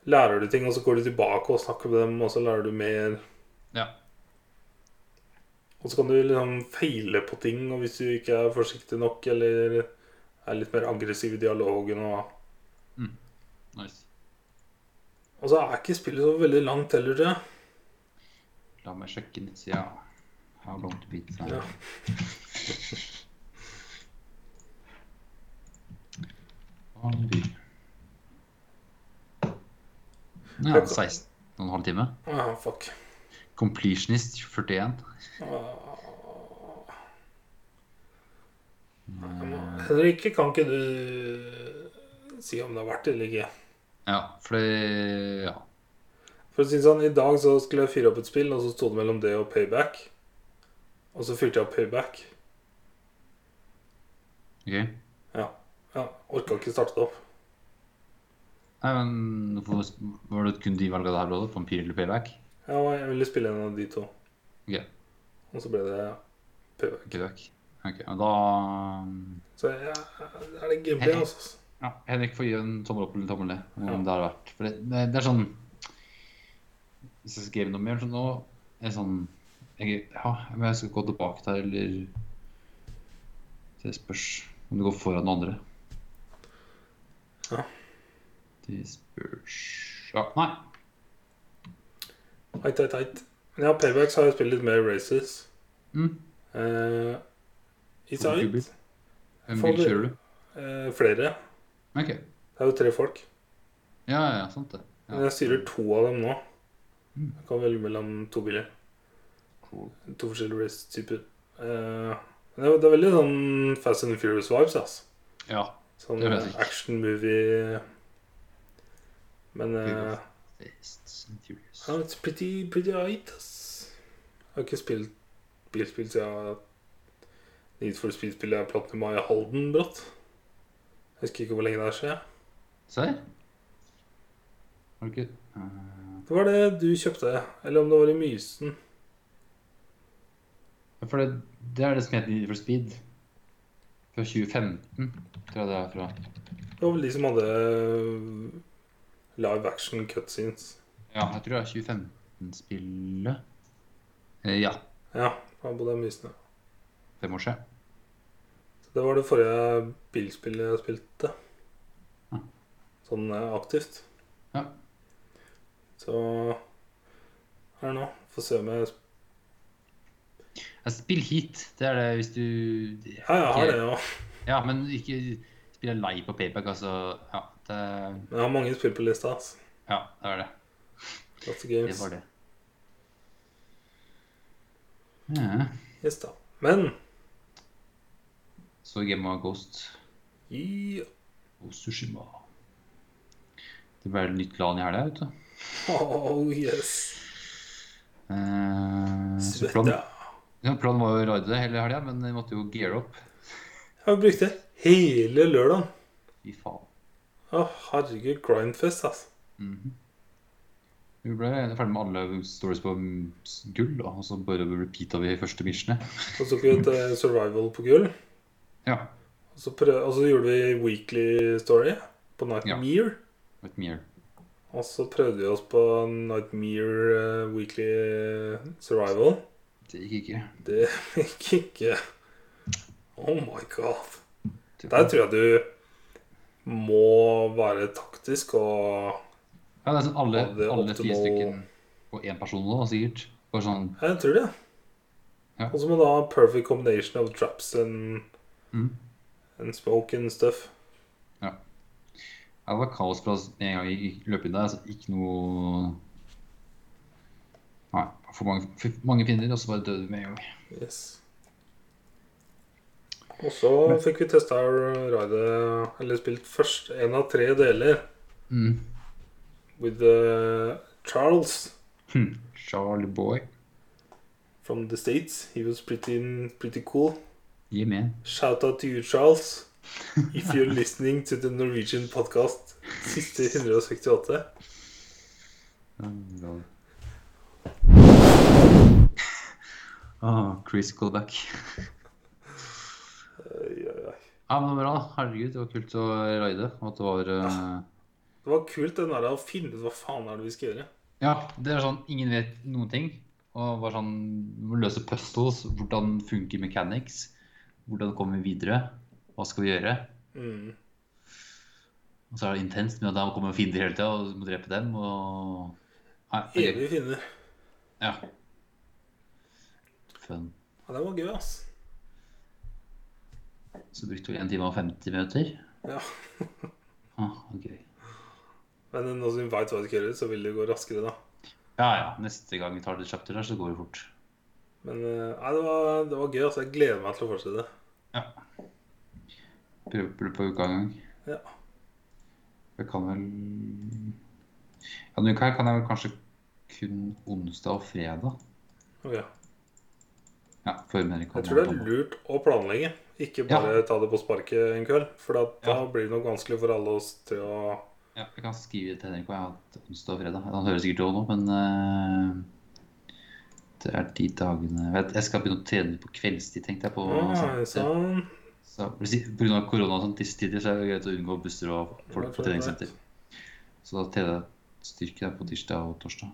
Speaker 1: lærer du ting, og så går du tilbake og snakker med dem, og så lærer du mer.
Speaker 2: Ja.
Speaker 1: Og så kan du liksom feile på ting, og hvis du ikke er forsiktig nok, eller er litt mer aggressiv i dialogen og
Speaker 2: nice.
Speaker 1: Og så er ikke spillet så veldig langt heller, tror jeg.
Speaker 2: La meg sjekke nettsida. How long to beat her.
Speaker 1: Ja.
Speaker 2: Vanlig. Ja, 16 og en halv time.
Speaker 1: Ah, fuck.
Speaker 2: Completionist 41.
Speaker 1: Ah. Henrik, kan ikke du si om det er verdt det eller ikke?
Speaker 2: Ja, for det Ja.
Speaker 1: For å si det sånn, I dag så skulle jeg fyre opp et spill, og så sto det mellom det og payback. Og så fyrte jeg opp payback.
Speaker 2: OK.
Speaker 1: Ja. ja Orka ikke starte det opp.
Speaker 2: Nei, men hvorfor var det kun de valga der òg? Vampyr eller payback?
Speaker 1: Ja, og jeg ville spille en av de to,
Speaker 2: OK.
Speaker 1: og så ble det payback.
Speaker 2: Payback. Ok, men Da
Speaker 1: Så jeg, det er det gameplay, altså.
Speaker 2: ja, Henrik får gi en tommel opp eller tommel ned. Om det har vært For det, det, det er sånn Hvis jeg skrev noe mer sånn nå er det sånn jeg, Ja, men jeg skal gå tilbake der, eller Det spørs om du går foran noen andre.
Speaker 1: Ja.
Speaker 2: Det spørs Ja, nei.
Speaker 1: Heit, heit, heit. Men ja, payback så har jeg spilt litt mer races.
Speaker 2: Mm.
Speaker 1: Eh,
Speaker 2: Hvor
Speaker 1: Inside
Speaker 2: mye Hvem
Speaker 1: Fader.
Speaker 2: bil kjører du?
Speaker 1: eh, flere.
Speaker 2: Ok.
Speaker 1: Det er jo tre folk.
Speaker 2: Ja, ja, ja, sant det. Ja.
Speaker 1: Men jeg styrer to av dem nå.
Speaker 2: Mm.
Speaker 1: Jeg kan velge mellom to biler.
Speaker 2: Cool.
Speaker 1: To forskjellige race-typer. Eh, men det er- det er veldig sånn Fast and Furious-vibes. Altså.
Speaker 2: Ja.
Speaker 1: Sånn
Speaker 2: Det vet jeg ikke.
Speaker 1: action-movie Men eh,
Speaker 2: Fast and Furious.
Speaker 1: ja, it's pretty, pretty high, ass. Jeg har ikke spilt bilspill siden Need for Speed-spillet jeg platinum av i Halden brått. Jeg husker ikke hvor lenge det er siden.
Speaker 2: Se her. Har du ikke Eh,
Speaker 1: Det var det du kjøpte, eller om det var i Mysen.
Speaker 2: For det, det er det som heter Need for speed. Fra 2015, tror jeg det er fra.
Speaker 1: Det var vel de som hadde øh, live action cutscenes.
Speaker 2: Ja, jeg tror det er 2015-spillet. Eh, ja.
Speaker 1: Ja, da bodde jeg i Mysen. ja.
Speaker 2: Fem år siden.
Speaker 1: Så det var det forrige bilspillet jeg spilte.
Speaker 2: Ja.
Speaker 1: Sånn eh, aktivt.
Speaker 2: Ja.
Speaker 1: Så her nå. Får se om jeg sp-
Speaker 2: Ja, spill hit. Det er det hvis du
Speaker 1: Ja, jeg har det, ja.
Speaker 2: Ja, men ikke spille live på payback, altså. Ja, det,
Speaker 1: Men Jeg har mange spill på lista. ass.
Speaker 2: ja, det er det.
Speaker 1: Lots of
Speaker 2: Det
Speaker 1: games.
Speaker 2: var det. Ja.
Speaker 1: Yes, da. Men
Speaker 2: Så Game of Ghost
Speaker 1: ja.
Speaker 2: og Sushima. Det ble nytt LAN i helga, vet du.
Speaker 1: Oh yes.
Speaker 2: Eh, så planen,
Speaker 1: Svette.
Speaker 2: ja, planen var jo å raide hele helga, men vi måtte jo geare opp.
Speaker 1: Jeg brukte hele lørdagen.
Speaker 2: Fy faen.
Speaker 1: Å, herregud. Grindfest, altså.
Speaker 2: Mhm. Vi ble ferdig med alle stories på mm, s- gull, da, og så bare repeata vi første missionet.
Speaker 1: Og så tok vi et eh, survival på gull.
Speaker 2: Ja.
Speaker 1: Og så, prøv, og så gjorde vi weekly story på Nightmare.
Speaker 2: With Mir.
Speaker 1: Og så prøvde vi oss på Nightmare eh, weekly eh, survival.
Speaker 2: Det gikk ikke.
Speaker 1: Det gikk ikke. Oh my god. Der tror jeg du må være taktisk og
Speaker 2: Ja, det er sånn alle,
Speaker 1: Hadde
Speaker 2: alle fire
Speaker 1: optimal-
Speaker 2: stykken og én person nå, sikkert. Bare sånn
Speaker 1: Ja, Jeg tror det.
Speaker 2: Ja.
Speaker 1: Og så må du ha perfect combination of traps and
Speaker 2: Mm.
Speaker 1: And spoken stuff.
Speaker 2: Ja, det var kaos for oss med en gang vi løp inn der. Altså, ikke noe Nei. For mange, for mange finner, og så bare døde vi med en gang.
Speaker 1: Yes. Og så fikk vi testa raidet Eller spilt først en av tre deler
Speaker 2: Mm.
Speaker 1: with eh, Charles
Speaker 2: Hm. Charlie boy.
Speaker 1: from the States. He was pretty, pretty cool.
Speaker 2: Gi med.
Speaker 1: Shout out to you, Charles. If you're listening to the Norwegian podcast siste 168.
Speaker 2: Ja, bra. Ah, Chris Colback.
Speaker 1: Oi, oi, oi.
Speaker 2: Ja, men det var bra. da. Herregud, det var kult å raide. Og at det var eh,
Speaker 1: Det var kult den der å finne ut hva faen er det vi skal gjøre.
Speaker 2: Ja, det er sånn ingen vet noen ting. Og bare sånn må løse puzzles. Hvordan funker mechanics? Hvordan kommer vi videre? Hva skal vi gjøre?
Speaker 1: Mm.
Speaker 2: Og så er det intenst med at det kommer fiender hele tida, og du må drepe dem og Nei, det er gøy.
Speaker 1: Evig finne.
Speaker 2: Ja. Fun.
Speaker 1: Ja, det var gøy, ass.
Speaker 2: Så brukte vi 1 time og 50 minutter.
Speaker 1: Ja.
Speaker 2: Ah, ok.
Speaker 1: Men nå som vi veit hva vi skal gjøre, så vil det gå raskere, da.
Speaker 2: Ja, ja. Neste gang vi tar det chapter her, så går det fort.
Speaker 1: Men eh, nei, det var, det var gøy. altså Jeg gleder meg til å fortsette.
Speaker 2: Prøver det på uka en gang.
Speaker 1: Ja.
Speaker 2: Jeg kan vel Ja, denne uka her kan jeg vel kanskje kun onsdag og fredag.
Speaker 1: Ok.
Speaker 2: Ja, før mer
Speaker 1: Jeg tror det er lurt å planlegge. Ikke bare ta det på sparket en kveld. For da, da blir det nok vanskelig for alle oss til å
Speaker 2: Ja, jeg kan skrive til Henrik og jeg har hatt onsdag og fredag. Han hører sikkert også nå, men eh, det er de dagene Jeg, vet, jeg skal begynne å trene på kveldstid, tenkte jeg på.
Speaker 1: ah,
Speaker 2: så,
Speaker 1: Sånn.
Speaker 2: så, på grunn av korona og sånn, disse tider så er det greit å unngå busser og folk på treningssenter. Så da trener jeg styrke der på tirsdag og torsdag.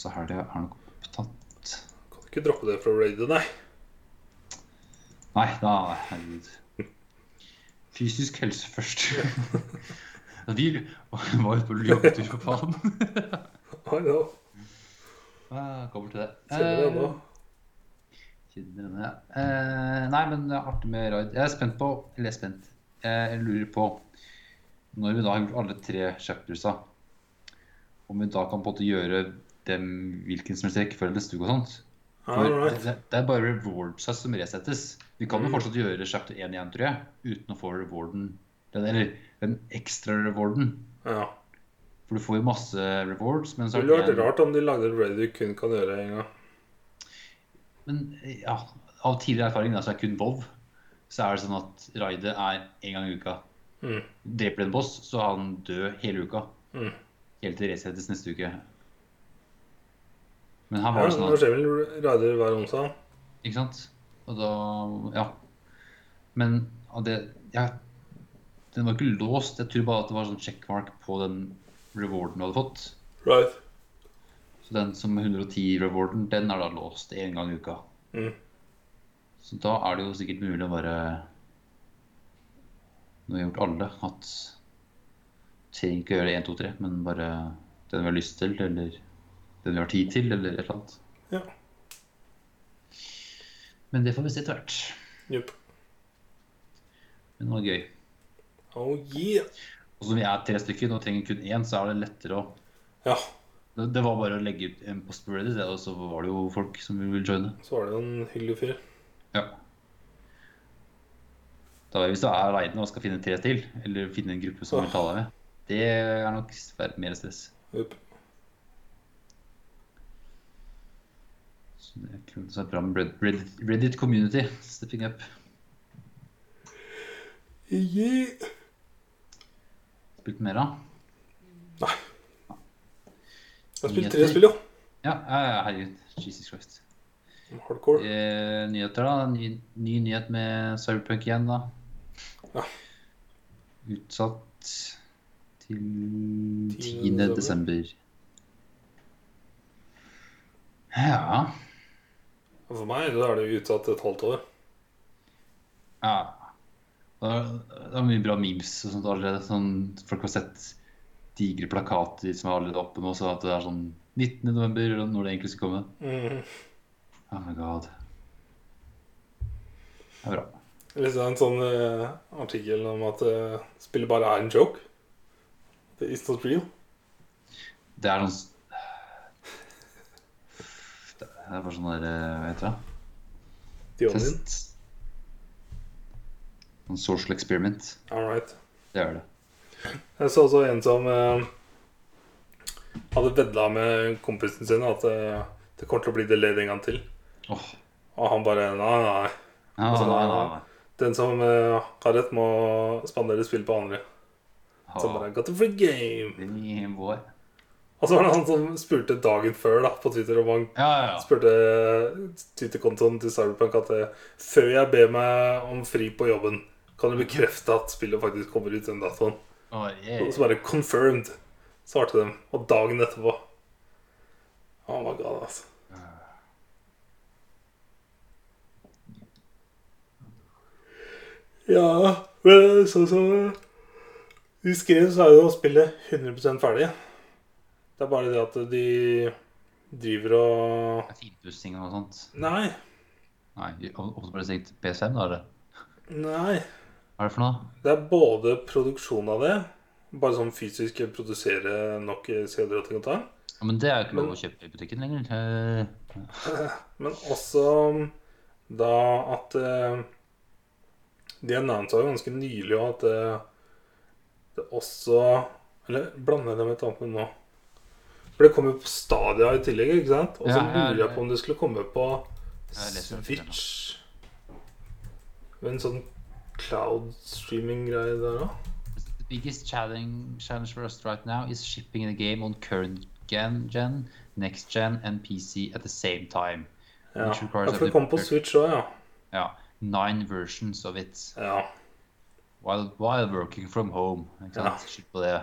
Speaker 2: Så helga er nok opptatt.
Speaker 1: Kan ikke droppe det fra raidet, nei.
Speaker 2: Nei, da herregud. Fysisk helse først. Vi var ute på joggetur, for faen.
Speaker 1: Nei, da
Speaker 2: Ah, kommer til det.
Speaker 1: Kjenner det nå.
Speaker 2: Eh, kjenner det, ja. Eh, nei, men det er artig med raid. Jeg er spent på Eller jeg er spent. Eh, Jeg lurer på Når vi da har gjort alle tre chaptersa, om vi da kan på en måte gjøre dem hvilken som helst rekkefølge neste uke og sånt. For
Speaker 1: All right.
Speaker 2: det, det er bare rewardsa som resettes. Vi kan jo
Speaker 1: Mm.
Speaker 2: fortsatt gjøre chapter 1 igjen, tror jeg, uten å få rewarden. Den, eller den ekstra rewarden.
Speaker 1: Ja.
Speaker 2: For du får jo masse rewards, men så
Speaker 1: Det
Speaker 2: er
Speaker 1: ville vært
Speaker 2: en-
Speaker 1: rart om de lagde et raid du kun kan gjøre en gang.
Speaker 2: Men ja, av tidligere erfaring, da, så er kun Vov, så er det sånn at raidet er én gang i uka.
Speaker 1: Mm.
Speaker 2: Dreper du en boss, så er han død hele uka.
Speaker 1: Mm.
Speaker 2: Helt til det resettes neste uke. Men her
Speaker 1: Ja,
Speaker 2: var det sånn
Speaker 1: nå
Speaker 2: at
Speaker 1: skjer vel raider hver onsdag.
Speaker 2: Ikke sant? Og da Ja. Men av det ja, Den var ikke låst. Jeg tror bare at det var sånn checkmark på den rewarden du hadde fått.
Speaker 1: Right.
Speaker 2: Så den som 110-rewarden, den er da låst én gang i uka.
Speaker 1: Mm.
Speaker 2: Så da er det jo sikkert mulig å bare Når vi har gjort alle, at trenger ikke å gjøre det 1, 2, 3, men bare den vi har lyst til, eller den vi har tid til, eller et eller annet.
Speaker 1: Ja.
Speaker 2: Men det får vi se etter hvert.
Speaker 1: Jupp.
Speaker 2: Men det var gøy.
Speaker 1: Oh yeah.
Speaker 2: Og som vi er tre stykker og trenger kun én, så er det lettere å
Speaker 1: Ja.
Speaker 2: Det, det var bare å legge ut en post på Reddit, og så var det jo folk som ville joine.
Speaker 1: Så var det jo en hyggelig fyr.
Speaker 2: Ja. Da, hvis du er aleine og skal finne tre til, eller finne en gruppe som vil ta deg med, det er nok sver- mer stress.
Speaker 1: Jupp.
Speaker 2: Så det kunne sett bra med Red- Reddit, Reddit community stepping up.
Speaker 1: Yeah.
Speaker 2: Spilt mer av?
Speaker 1: Jeg har spilt tre
Speaker 2: Nyheter.
Speaker 1: spill, jo.
Speaker 2: Ja, ja, ja, herregud. Jesus Christ.
Speaker 1: Hardcore.
Speaker 2: Eh, nyheter, da. Ny, ny nyhet med Cyberpunk igjen, da.
Speaker 1: Ja.
Speaker 2: Utsatt til 10.
Speaker 1: 10.
Speaker 2: desember. Ja.
Speaker 1: Og For meg da er det jo utsatt et halvt år.
Speaker 2: Ja. Det er, det er mye bra memes og sånt allerede. Sånn, folk har sett digre plakater som er allerede oppe nå, så at det er sånn 19. november, eller når det egentlig skal komme.
Speaker 1: Mm.
Speaker 2: Oh my god. Det er bra.
Speaker 1: Leste en sånn eh, artikkel om at eh, spillet bare er en joke. Det is not real.
Speaker 2: Det er noen s- Det er bare sånn der eh, Hva heter det?
Speaker 1: The Onion.
Speaker 2: Test. En social experiment.
Speaker 1: All right.
Speaker 2: Det er det.
Speaker 1: Jeg så også en som eh, hadde vedda med kompisen sin at eh, det kommer til å bli delayed en gang til.
Speaker 2: Åh.
Speaker 1: Og han bare Nei, nei.
Speaker 2: Ja,
Speaker 1: Altså,
Speaker 2: nei, nei,
Speaker 1: da-
Speaker 2: nei.
Speaker 1: Den som eh, har rett, må spandere spill på andre. Så
Speaker 2: Ha,
Speaker 1: bare Got a free game.
Speaker 2: det er en vår.
Speaker 1: Og så var det han som spurte dagen før da, på Twitter om han
Speaker 2: Ja, ja, ja.
Speaker 1: spurte Twitter-kontoen til Cyberpunk at eh, før jeg ber meg om fri på jobben, kan du bekrefte at spillet faktisk kommer ut den datoen?
Speaker 2: Å,
Speaker 1: Og
Speaker 2: yeah.
Speaker 1: så bare confirmed, svarte de. Og dagen etterpå Oh my god, altså. Ja, men sånn som de skrev, så er jo spillet 100 ferdig. Det er bare det at de driver og
Speaker 2: Det er Finpussing og sånt.
Speaker 1: Nei.
Speaker 2: Nei, i- om- om det bare sikkert PS5, da? er det.
Speaker 1: Nei.
Speaker 2: Hva er det for noe?
Speaker 1: Det er både produksjon av det, bare sånn fysisk produsere nok CD-er og ting å ta,
Speaker 2: Ja, men det er jo ikke lov
Speaker 1: Men-
Speaker 2: å kjøpe i butikken lenger. Eh,
Speaker 1: men også um, da at eh, De annonsa jo ganske nylig at eh, det også Eller blander jeg det med et annet nå? For det kom jo på Stadia i tillegg, ikke sant? Og så
Speaker 2: Ja, ja,
Speaker 1: lurer jeg
Speaker 2: ja.
Speaker 1: på om det skulle komme på
Speaker 2: Jeg leser det ikke
Speaker 1: Switch. Med en sånn cloud streaming-greie der òg.
Speaker 2: The biggest challenge, challenge for us right now is shipping the game on current gen, gen next gen and PC at the same time.
Speaker 1: Ja.
Speaker 2: Which requires
Speaker 1: ja, for det
Speaker 2: that
Speaker 1: kom på
Speaker 2: they-
Speaker 1: Switch òg, ja.
Speaker 2: Ja, nine versions of it
Speaker 1: ja.
Speaker 2: while, while working from home. Ikke
Speaker 1: Ja.
Speaker 2: sant? Skyld på det.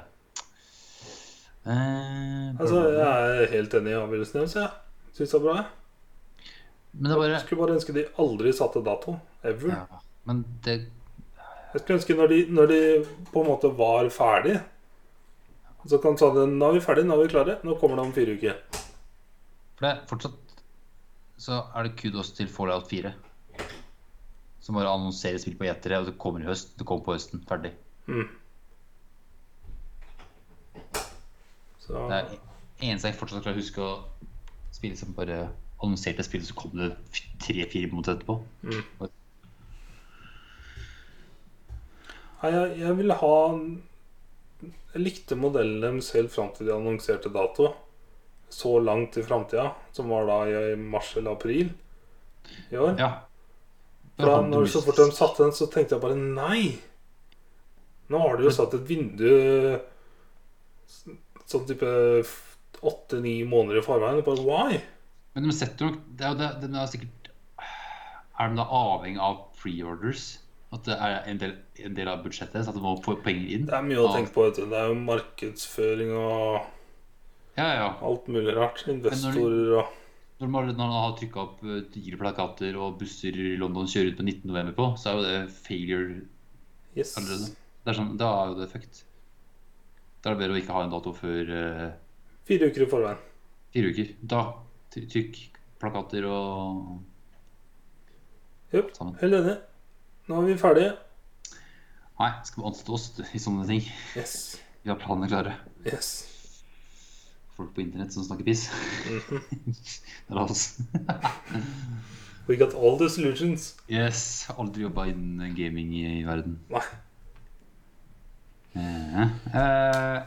Speaker 2: Eh,
Speaker 1: Altså, Jeg er helt enig i avgjørelsen deres. Jeg syns det er bra. jeg.
Speaker 2: men det er bare
Speaker 1: Jeg skulle bare ønske de aldri satte dato. Ever.
Speaker 2: ja, Men det
Speaker 1: Jeg skulle ønske når de, når de på en måte var ferdig Så kan du sa det Nå er vi ferdige, nå er vi klare. Nå kommer det om fire uker.
Speaker 2: For det er fortsatt så er det kudos til Fallout 4. Som bare annonserer spill på gjetere, og det kommer i høst. Det kommer på høsten. Ferdig.
Speaker 1: Så
Speaker 2: Det er eneste jeg fortsatt klarer å huske å spille som bare annonserte spillet, så kom det tre-fire måneder etterpå.
Speaker 1: Nei, jeg, jeg ville ha Jeg likte modellen deres helt fram til de annonserte dato. Så langt i framtida, som var da i mars eller april i år.
Speaker 2: Ja.
Speaker 1: For da, når så fort de satte den, så tenkte jeg bare nei. Nå har de jo satt et vindu s- sånn type åtte-ni måneder i forveien. Bare why?
Speaker 2: Men de setter nok det er, jo det, de er sikkert Er de da avhengig av preorders? At det er en del, en del av budsjettet, så at de må få penger inn?
Speaker 1: Det er mye å tenke på. Vet du. Det er jo markedsføring og
Speaker 2: Ja, ja.
Speaker 1: alt mulig rart. Investorer og
Speaker 2: Når man, når man har trykka opp eh, digre plakater og busser i London kjører ut på 19. november på, så er jo det failure
Speaker 1: Yes.
Speaker 2: allerede. Det er sånn, da er jo det fucked. Da er det bedre å ikke ha en dato før eh,
Speaker 1: Fire uker i forveien.
Speaker 2: fire uker. Da try- trykk plakater og
Speaker 1: Jep,
Speaker 2: Sammen.
Speaker 1: Helt enig. Nå er vi ferdige.
Speaker 2: Nei, skal vi ansette oss i sånne ting?
Speaker 1: Yes.
Speaker 2: Vi har planene klare.
Speaker 1: Yes.
Speaker 2: Folk på internett som snakker piss. det er oss.
Speaker 1: We got all the solutions.
Speaker 2: Yes. Aldri jobba innen gaming i verden.
Speaker 1: Nei.
Speaker 2: Eh, eh,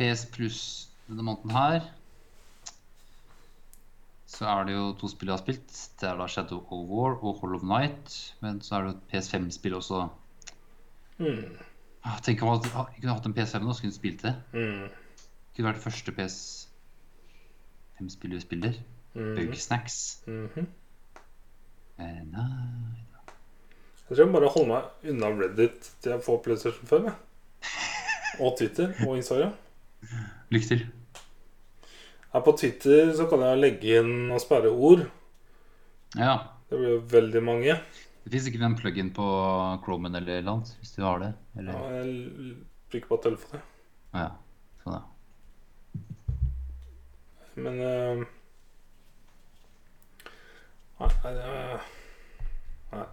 Speaker 2: PS Pluss denne måneden her Så er det jo to spill jeg har spilt. Det er da Shadow of War og Hollow Night. Men så er det jo et PS5-spill også.
Speaker 1: Mm.
Speaker 2: Ah, Tenk om jeg hadde- jeg kunne hatt en PS5 nå, så kunne jeg spilt det.
Speaker 1: Mm.
Speaker 2: Kunne vært det første PS5-spillet vi spiller.
Speaker 1: Mm.
Speaker 2: Bøkesnacks.
Speaker 1: Mhm.
Speaker 2: Eh, nei
Speaker 1: Jeg tror jeg bare holder meg unna Reddit til jeg får PlayStation 5. Jeg. Og Twitter og Instagram.
Speaker 2: Lykke til.
Speaker 1: Her på Twitter så kan jeg legge inn og sperre ord.
Speaker 2: Ja.
Speaker 1: Det blir jo veldig mange.
Speaker 2: Det fins ikke en plug-in på Chromen eller noe annet, hvis du har det.
Speaker 1: Ja,
Speaker 2: Eller?
Speaker 1: jeg l- bruker bare telefonen. jeg.
Speaker 2: Ja. Sånn, ja.
Speaker 1: Men eh, Nei, nei, det er- nei.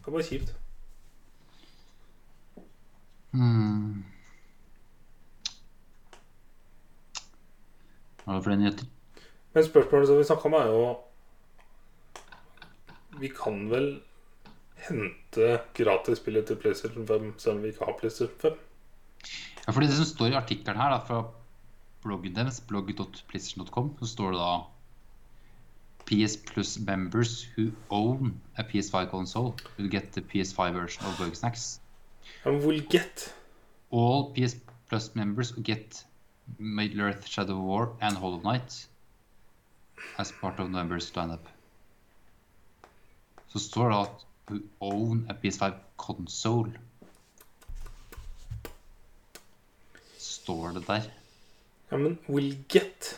Speaker 1: Det er bare kjipt.
Speaker 2: Hmm. Hva er det for nyheter?
Speaker 1: Men spørsmålet som vi snakka om, er jo Vi kan vel hente gratisspillet til PlayStation 5 selv om vi ikke har PlayStation 5?
Speaker 2: Ja, fordi det som står i artikkelen her, da, fra bloggen deres, blogg.playstation.com, så står det da PS Plus members who own a PS5 console will get the PS5 version of Burger Snacks.
Speaker 1: Ja, men we'll get
Speaker 2: All PS Plus members get Middle Earth Shadow War and Hollow Knight as part of November's lineup. Så står det at who own a PS5 console. Står det der?
Speaker 1: Ja, men we'll get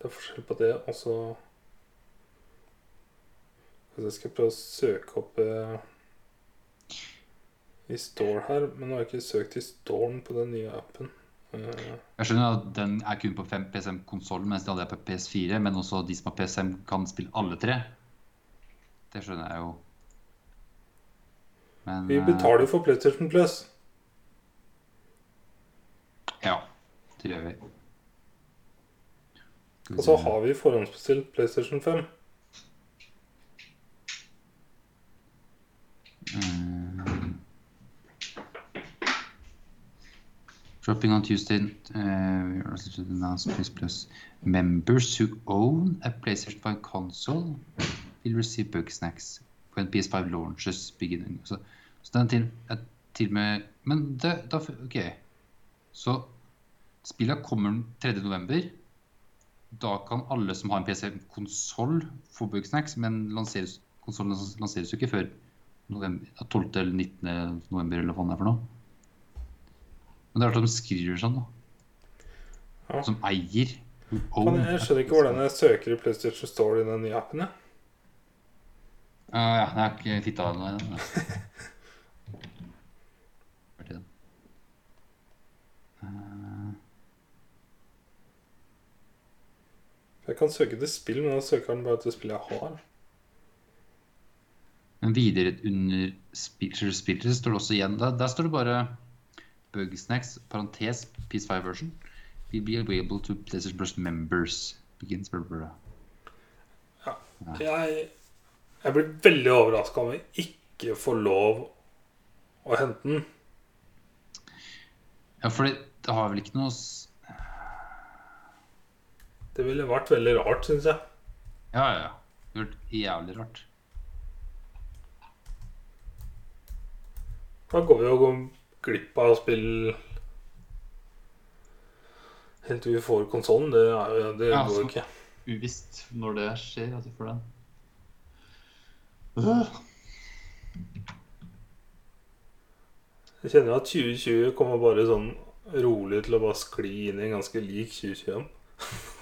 Speaker 1: Det er forskjell på det, og så Skal vi se, skal jeg prøve å søke opp eh, i Store her, men nå har jeg ikke søkt i Storen på den nye appen. Eh,
Speaker 2: Jeg skjønner at den er kun på 5 PSM-konsollen, mens de andre er på PS4. Men også de som har PSM, kan spille alle tre. Det skjønner jeg jo. Men
Speaker 1: vi
Speaker 2: eh,
Speaker 1: betaler jo for PlayStation Plus.
Speaker 2: Ja, det gjør vi. Skal vi
Speaker 1: Og så
Speaker 2: se.
Speaker 1: har vi forhåndsbestilt PlayStation 5.
Speaker 2: Mm. Dropping on Tuesday, uh, we are also to announce PS Plus members who own a PlayStation 5 console will receive bug snacks when PS5 launches beginning. Så, så den til, er til og med Men det, da OK. Så spillene kommer den 3. november. Da kan alle som har en PC-konsoll, få bug snacks, men lanseres, konsollen lanseres jo ikke før november, ja, 12. eller 19. november, eller hva faen det er for noe. Men det er rart de skriver sånn, da.
Speaker 1: Ja.
Speaker 2: Som eier. who
Speaker 1: Men
Speaker 2: own
Speaker 1: jeg
Speaker 2: a
Speaker 1: skjønner ikke hvordan jeg søker i PlayStation Store i den nye appen. jeg.
Speaker 2: Ja, ja, jeg har ikke fitta av den. nei, nei. Vært i den.
Speaker 1: Jeg kan søke til spill, men da søker den bare til spill jeg har.
Speaker 2: Men videre under spillere, spillere står det også igjen Der, der står det bare Bugsnacks, parentes, PS5 version will be available to PlayStation Plus members. Begins, blah, blah, blah.
Speaker 1: Jeg, jeg blir veldig overraska om vi ikke får lov å hente den.
Speaker 2: Ja, for det, det har vel ikke noe s-
Speaker 1: Det ville vært veldig rart, syns jeg.
Speaker 2: Ja, ja, ja. Det har vært jævlig rart.
Speaker 1: Da går vi jo glipp av spill helt til vi får konsollen. Det, er jo- det
Speaker 2: Ja,
Speaker 1: går
Speaker 2: så-
Speaker 1: jo ikke.
Speaker 2: Uvisst når det skjer at vi får den.
Speaker 1: Jeg kjenner jo at 2020 kommer bare sånn rolig til å bare skli inn i en ganske lik 2021.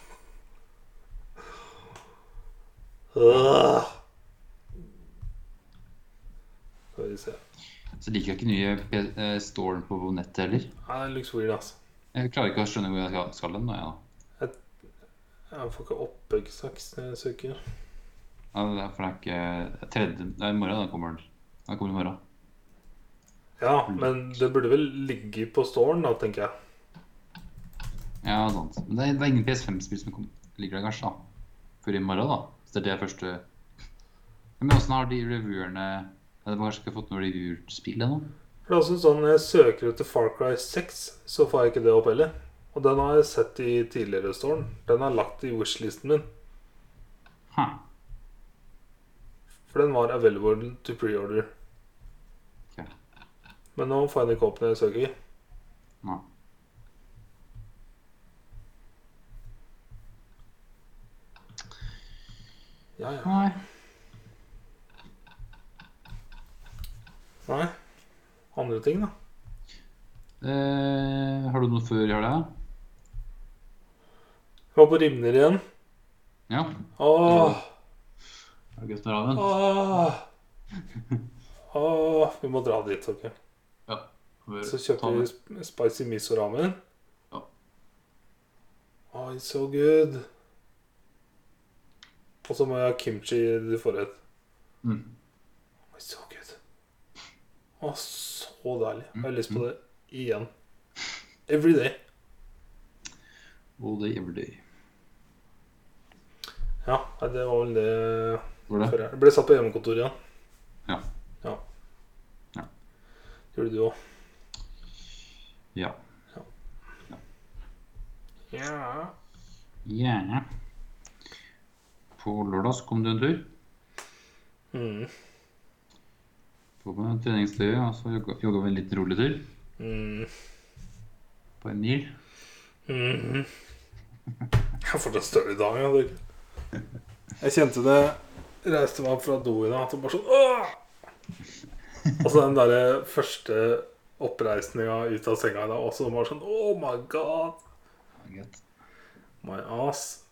Speaker 1: Øh. Skal vi se.
Speaker 2: Så liker jeg ikke nye P- eh, storen på nettet heller.
Speaker 1: Nei, det looks weird, altså.
Speaker 2: Jeg klarer ikke å skjønne hvor jeg skal- skal den. da, Ja.
Speaker 1: Jeg får ikke oppbyggsaks når jeg søker.
Speaker 2: Ja, det er for det er ikke tredje Det er i morgen den kommer. den. Den kommer i morgen.
Speaker 1: Ja, men det burde vel ligge på stålen da, tenker jeg.
Speaker 2: Ja, sant. Men det er, det er ingen PS5-spill som kom, ligger der, kanskje, da. Før i morgen, da. Så det er det første ja, Men åssen har de revyerne ja, De har kanskje ikke fått noe revyspill ennå?
Speaker 1: For det er også sånn, når jeg søker etter Far Cry 6, så får jeg ikke det opp heller. Og den har jeg sett i tidligere stålen. Den er lagt i wishlisten min.
Speaker 2: Hæ.
Speaker 1: For den var available to pre-order.
Speaker 2: Ok.
Speaker 1: Men nå får jeg den ikke opp når jeg søker.
Speaker 2: Nei.
Speaker 1: Ja, ja.
Speaker 2: Nei.
Speaker 1: Nei. Andre ting, da.
Speaker 2: Eh, har du noe før i helga?
Speaker 1: Jeg var på Rimner igjen.
Speaker 2: Ja.
Speaker 1: Åh,
Speaker 2: Er det godt med ramen?
Speaker 1: åh. Åh, vi må dra dit, ok. Så kjøper vi sp- spicy miso ramen.
Speaker 2: Ja.
Speaker 1: Oh, it's so good. Og så må jeg ha kimchi i forrett.
Speaker 2: Mm.
Speaker 1: It's so good. Åh, så så deilig. Jeg har lyst
Speaker 2: Mm.
Speaker 1: på det igjen. Every day.
Speaker 2: All day, every day.
Speaker 1: Ja, nei, det var vel det
Speaker 2: Var det?
Speaker 1: før jeg jeg ble satt på hjemmekontor igjen.
Speaker 2: Ja.
Speaker 1: ja.
Speaker 2: Ja.
Speaker 1: Gjorde du òg.
Speaker 2: Ja.
Speaker 1: Ja.
Speaker 2: Gjerne. På lørdag så kom du en tur.
Speaker 1: Mm.
Speaker 2: På med treningstøyet, og så jogga jogga vi en liten rolig tur
Speaker 1: Mm.
Speaker 2: på en mil.
Speaker 1: Mhm. Jeg får det større i dag. Jeg, jeg kjente det reiste meg opp fra do i dag. at det bare sånn Åh! Og så den derre første oppreisninga ut av senga i dag også bare sånn Oh my God!
Speaker 2: Greit.
Speaker 1: My ass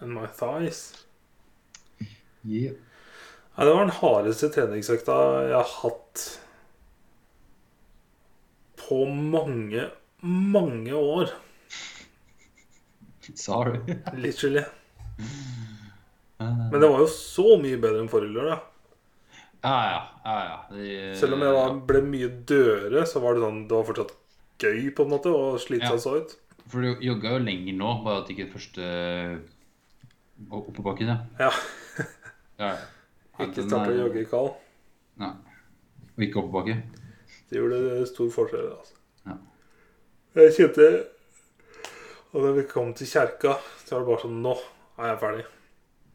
Speaker 1: and my thighs.
Speaker 2: Yeah.
Speaker 1: Nei, det var den hardeste treningsøkta jeg har hatt på mange, mange år.
Speaker 2: Sorry.
Speaker 1: Literally.
Speaker 2: Men
Speaker 1: Men det var jo så mye bedre enn forrige lørdag.
Speaker 2: Ja, ja. ja, ja. Det-
Speaker 1: Selv om jeg da ble mye dødere, så var det sånn Det var fortsatt gøy, på en måte, å slite
Speaker 2: Ja.
Speaker 1: seg så ut.
Speaker 2: For du jogga jo lenger nå, bare at ikke første oppoverbakken, ja.
Speaker 1: Ja.
Speaker 2: ja. ja.
Speaker 1: Ikke
Speaker 2: Den
Speaker 1: starte
Speaker 2: er-
Speaker 1: å jogge i kald.
Speaker 2: Nei. Og ikke oppoverbakke.
Speaker 1: Det gjorde stor forskjell, altså.
Speaker 2: Ja.
Speaker 1: Jeg kjente Og da vi kom til kjerka, så var det bare sånn Nå er jeg ferdig.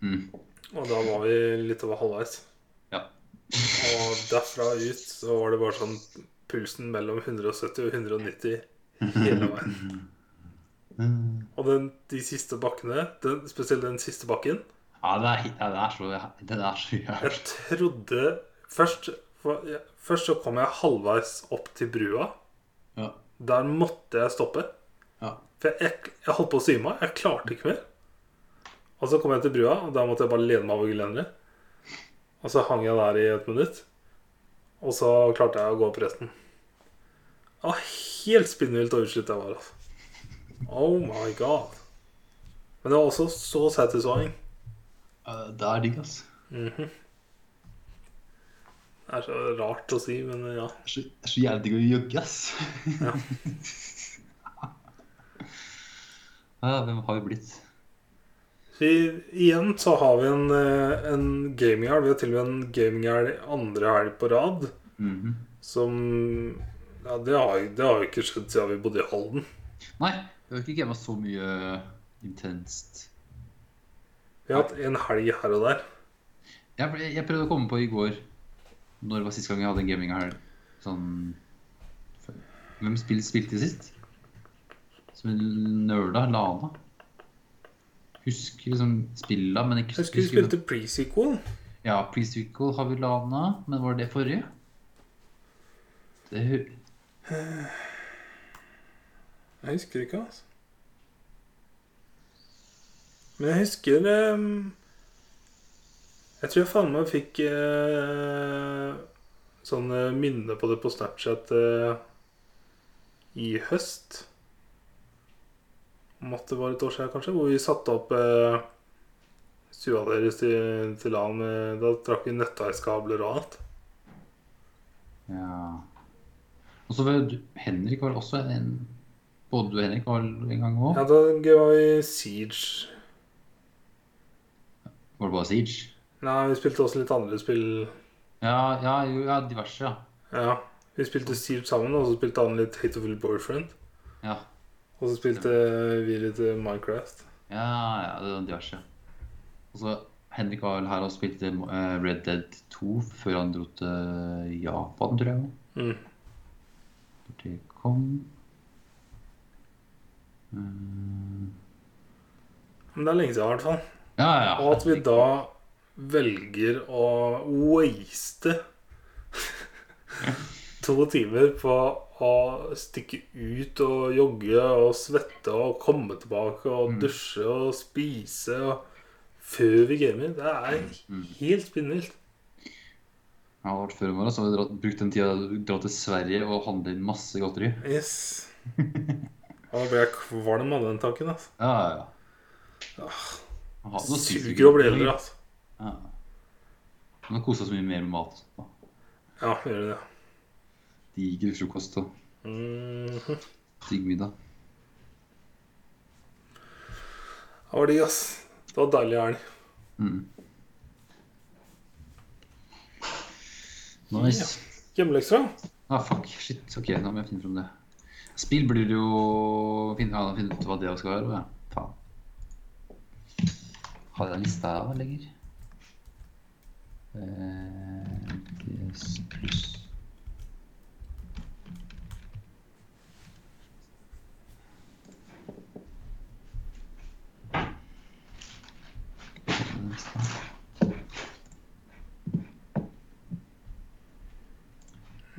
Speaker 2: Mm.
Speaker 1: Og da var vi litt over halvveis.
Speaker 2: Ja.
Speaker 1: Og derfra ut så var det bare sånn pulsen mellom 170 og 190 hele veien. Og den, de siste bakkene, den, spesielt den siste bakken
Speaker 2: Ja, det er, ja, det er så Det er så
Speaker 1: Jeg
Speaker 2: jævlig.
Speaker 1: trodde først for, jeg, Først så kom jeg halvveis opp til brua.
Speaker 2: Ja.
Speaker 1: Der måtte jeg stoppe.
Speaker 2: Ja.
Speaker 1: For jeg, jeg, jeg holdt på å svime av. Jeg klarte ikke mer. Og så kom jeg til brua, og da måtte jeg bare lene meg over gelenderet. Og så hang jeg der i et minutt. Og så klarte jeg å gå opp resten. Det var helt spinnvilt og utslitt jeg var. Altså. Oh my god. Men det var også så satisfying.
Speaker 2: Eh, Det er digg, altså.
Speaker 1: Det er så rart å si, men ja.
Speaker 2: Det er så, det er så jævlig digg å jogge, ass.
Speaker 1: Ja.
Speaker 2: Ja, hvem har vi blitt?
Speaker 1: Vi, igjen så har vi en, eh, en gaminghjel. Vi har til og med en gaminghjel andre helg på rad.
Speaker 2: Mhm.
Speaker 1: Som Ja, det har, det har jo ikke skjedd siden vi bodde i Halden.
Speaker 2: Nei, vi har ikke gama så mye intenst.
Speaker 1: Vi har hatt en helg her og der.
Speaker 2: Jeg, ble- jeg prøvde å komme på i går når det var sist gang jeg hadde en gaming her. Sånn Hvem spill, spilte sist? Som nerda? Lana? Husker liksom spilla, men ikke
Speaker 1: Jeg husker vi spilte pre-sequel.
Speaker 2: Ja, Pre-Sequel har vi Lana, men var det forrige? Det hø-
Speaker 1: Jeg husker ikke, altså. Men jeg husker ehm, Jeg tror jeg faen meg fikk uh, sånn eh, minne på det på Snapchat eh, i høst. Om at det var et år siden, kanskje, hvor vi satte opp eh, stua deres til, til LAN. med- Da trakk vi nettverkskabler og alt.
Speaker 2: Ja. Og så var du- Henrik var også en Både du og Henrik var vel en gang òg?
Speaker 1: Ja, da var vi Siege.
Speaker 2: Var det bare Siege?
Speaker 1: Nei, vi spilte også litt andre spill.
Speaker 2: Ja, ja, jo, ja diverse, ja.
Speaker 1: Ja. Vi spilte Siege sammen, og så spilte han litt Hateful Boyfriend.
Speaker 2: Ja,
Speaker 1: Og så spilte vi litt eh, Minecraft.
Speaker 2: ja, ja det var diverse. Og så Henrik var vel her og spilte eh, Red Dead 2 før han dro til Japan, tror jeg.
Speaker 1: Mm.
Speaker 2: Når det kom Eh,
Speaker 1: Men det er lenge siden, i hvert fall.
Speaker 2: Ja, ja.
Speaker 1: Og at vi da velger å waste to timer på å stikke ut og jogge og svette og komme tilbake og
Speaker 2: Mm.
Speaker 1: dusje og spise og før vi gamer. Det
Speaker 2: Mm.
Speaker 1: er helt spinnvilt.
Speaker 2: Ja, det var før i morgen, så har vi dratt, brukt den tida til å dra til Sverige og handle inn masse godteri.
Speaker 1: Yes. Og da ble jeg kvalm av den tanken. altså.
Speaker 2: Ja, ja, ja. Han har- nå spiser vi
Speaker 1: Suger å bli
Speaker 2: godteri.
Speaker 1: eldre, altså.
Speaker 2: Ja. Men han koser seg så mye mer med mat. og sånt, da.
Speaker 1: Ja, gjør det.
Speaker 2: diger frokost og
Speaker 1: Mhm.
Speaker 2: digg middag.
Speaker 1: Det var digg, ass. Det var deilig helg.
Speaker 2: Mm. Nice.
Speaker 1: Hjemmelekser,
Speaker 2: Ah, fuck. Shit. Ok, nå må jeg finne fram det. Spill blir det jo finne, ja, finne ut hva det skal være. Ja. Faen. Har jeg en liste her da, lenger? Eh, PS pluss. Den lista.
Speaker 1: ja.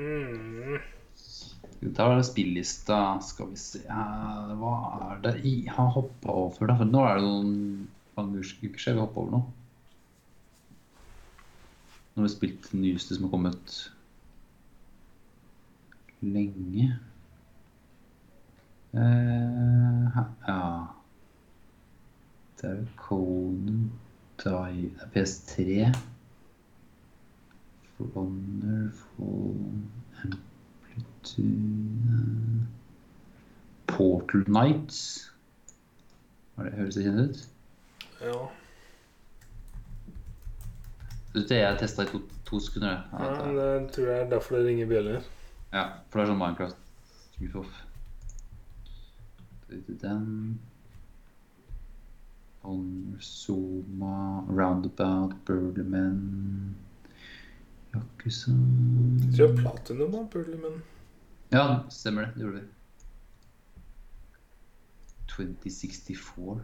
Speaker 1: Mhm.
Speaker 2: Jo, Der var det spillista. Skal vi se eh, Hva er det i Jeg har hoppa over det. For nå er det noen mange uker siden vi hoppa over noe. Nå har vi spilt den nyeste som har kommet lenge. Eh, her- ja Det er jo Conan Dye Det er PS3. For Honor, for Tune eh, Portal Nights. Hva er det høres det kjent ut?
Speaker 1: Ja.
Speaker 2: Vet du, jeg testa i to, to sekunder. jeg.
Speaker 1: ja,
Speaker 2: Ja, det-
Speaker 1: det tror eh, jeg er derfor det ringer bjeller.
Speaker 2: ja, for det er sånn Minecraft goof-off. Den Honor, Zoma, Roundabout, Burleman Yakuza
Speaker 1: Jeg tror jeg platinum var Burley, men
Speaker 2: Ja, stemmer det. Det gjorde vi. 2064.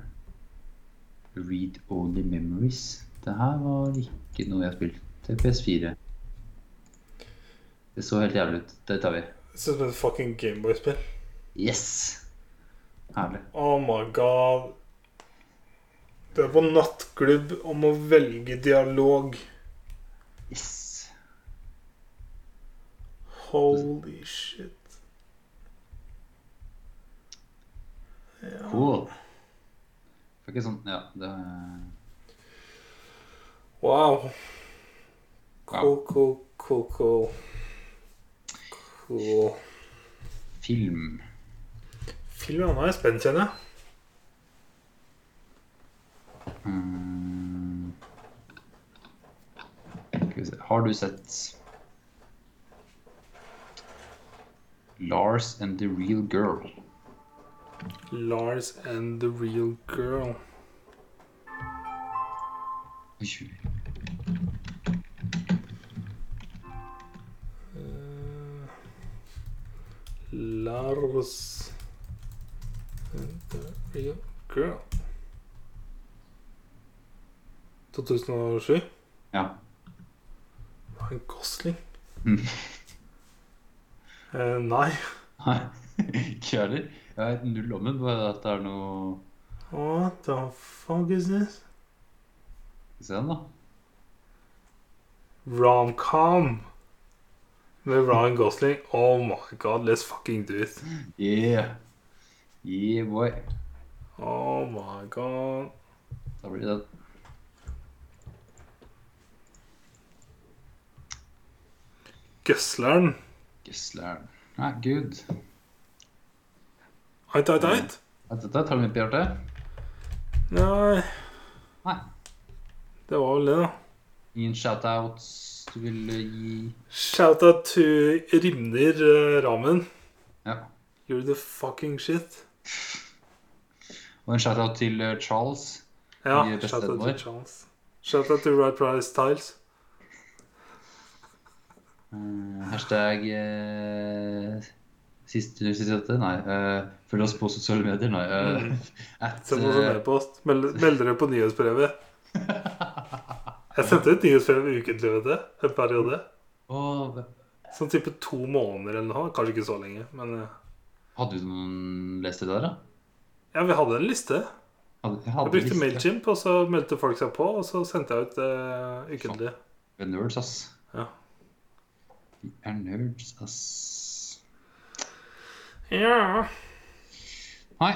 Speaker 2: Read Only Memories. Det her var ikke noe jeg har spilt til PS4. Det så helt jævlig ut. Det tar vi.
Speaker 1: det ser ut som et fucking Gameboy-spill.
Speaker 2: Yes! Herlig.
Speaker 1: Oh my god. Du er på nattklubb om å velge dialog.
Speaker 2: Yes!
Speaker 1: Holy shit. Ja.
Speaker 2: Cool. Det var ikke sånn Ja, det er
Speaker 1: Wow. Cool, cool, cool, cool. Cool.
Speaker 2: film.
Speaker 1: Film ja, nå er jeg spent, kjenner jeg.
Speaker 2: Mm. Skal vi se. Har du sett Lars and the Real Girl?
Speaker 1: Lars and the Real Girl.
Speaker 2: Oi, tjue.
Speaker 1: Eh, Lars and the Real Girl. 2007.
Speaker 2: Ja.
Speaker 1: Ryan Gosling?
Speaker 2: Mm.
Speaker 1: Eh, nei.
Speaker 2: Nei, ikke jeg heller. Jeg vet null om den, bare at det er noe
Speaker 1: What the fuck is this?
Speaker 2: Skal vi Se den, da.
Speaker 1: Romcom med Ryan Gosling. Oh my god, let's fucking do it.
Speaker 2: Yeah. Yeah, boy.
Speaker 1: Oh my god.
Speaker 2: Da blir det den.
Speaker 1: Gøsleren.
Speaker 2: Gøssleren. Nei, gud.
Speaker 1: Heit, heit, heit.
Speaker 2: Dette tar du litt på hjertet?
Speaker 1: Nei,
Speaker 2: Nei.
Speaker 1: det var vel det, da.
Speaker 2: Ingen shoutouts du vil eh, gi?
Speaker 1: Shout-out to Rimner eh, Ramen.
Speaker 2: Ja.
Speaker 1: You're the fucking shit.
Speaker 2: Og en shoutout til eh, Charles.
Speaker 1: Ja,
Speaker 2: Mye beste
Speaker 1: shout-out
Speaker 2: vår.
Speaker 1: to Charles. Shout-out to Right Price Tiles.
Speaker 2: Eh, hashtag eh, siste siste dette? Nei. eh, følg oss på sosiale medier? Nei. eh, at,
Speaker 1: Send Mm. oss en
Speaker 2: eh,
Speaker 1: e-post. Meld, meld dere på nyhetsbrevet. Jeg sendte ut nyhetsbrev ukentlig, vet du. En periode.
Speaker 2: og,
Speaker 1: Sånn type to måneder eller noe. Kanskje ikke så lenge, men eh,
Speaker 2: hadde du noen lest det der, da?
Speaker 1: Ja, vi hadde en liste.
Speaker 2: Hadde, jeg
Speaker 1: Jeg
Speaker 2: hadde
Speaker 1: brukte
Speaker 2: liste.
Speaker 1: Mailchimp, og så meldte folk seg på, og så sendte jeg ut eh, ukentlig.
Speaker 2: Vi er nerds, ass.
Speaker 1: Ja.
Speaker 2: Vi er nerds, ass.
Speaker 1: Ja.
Speaker 2: Nei.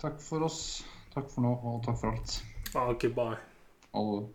Speaker 2: Takk for oss. Takk for nå, og takk for alt.
Speaker 1: Ok, bye.
Speaker 2: Hallo.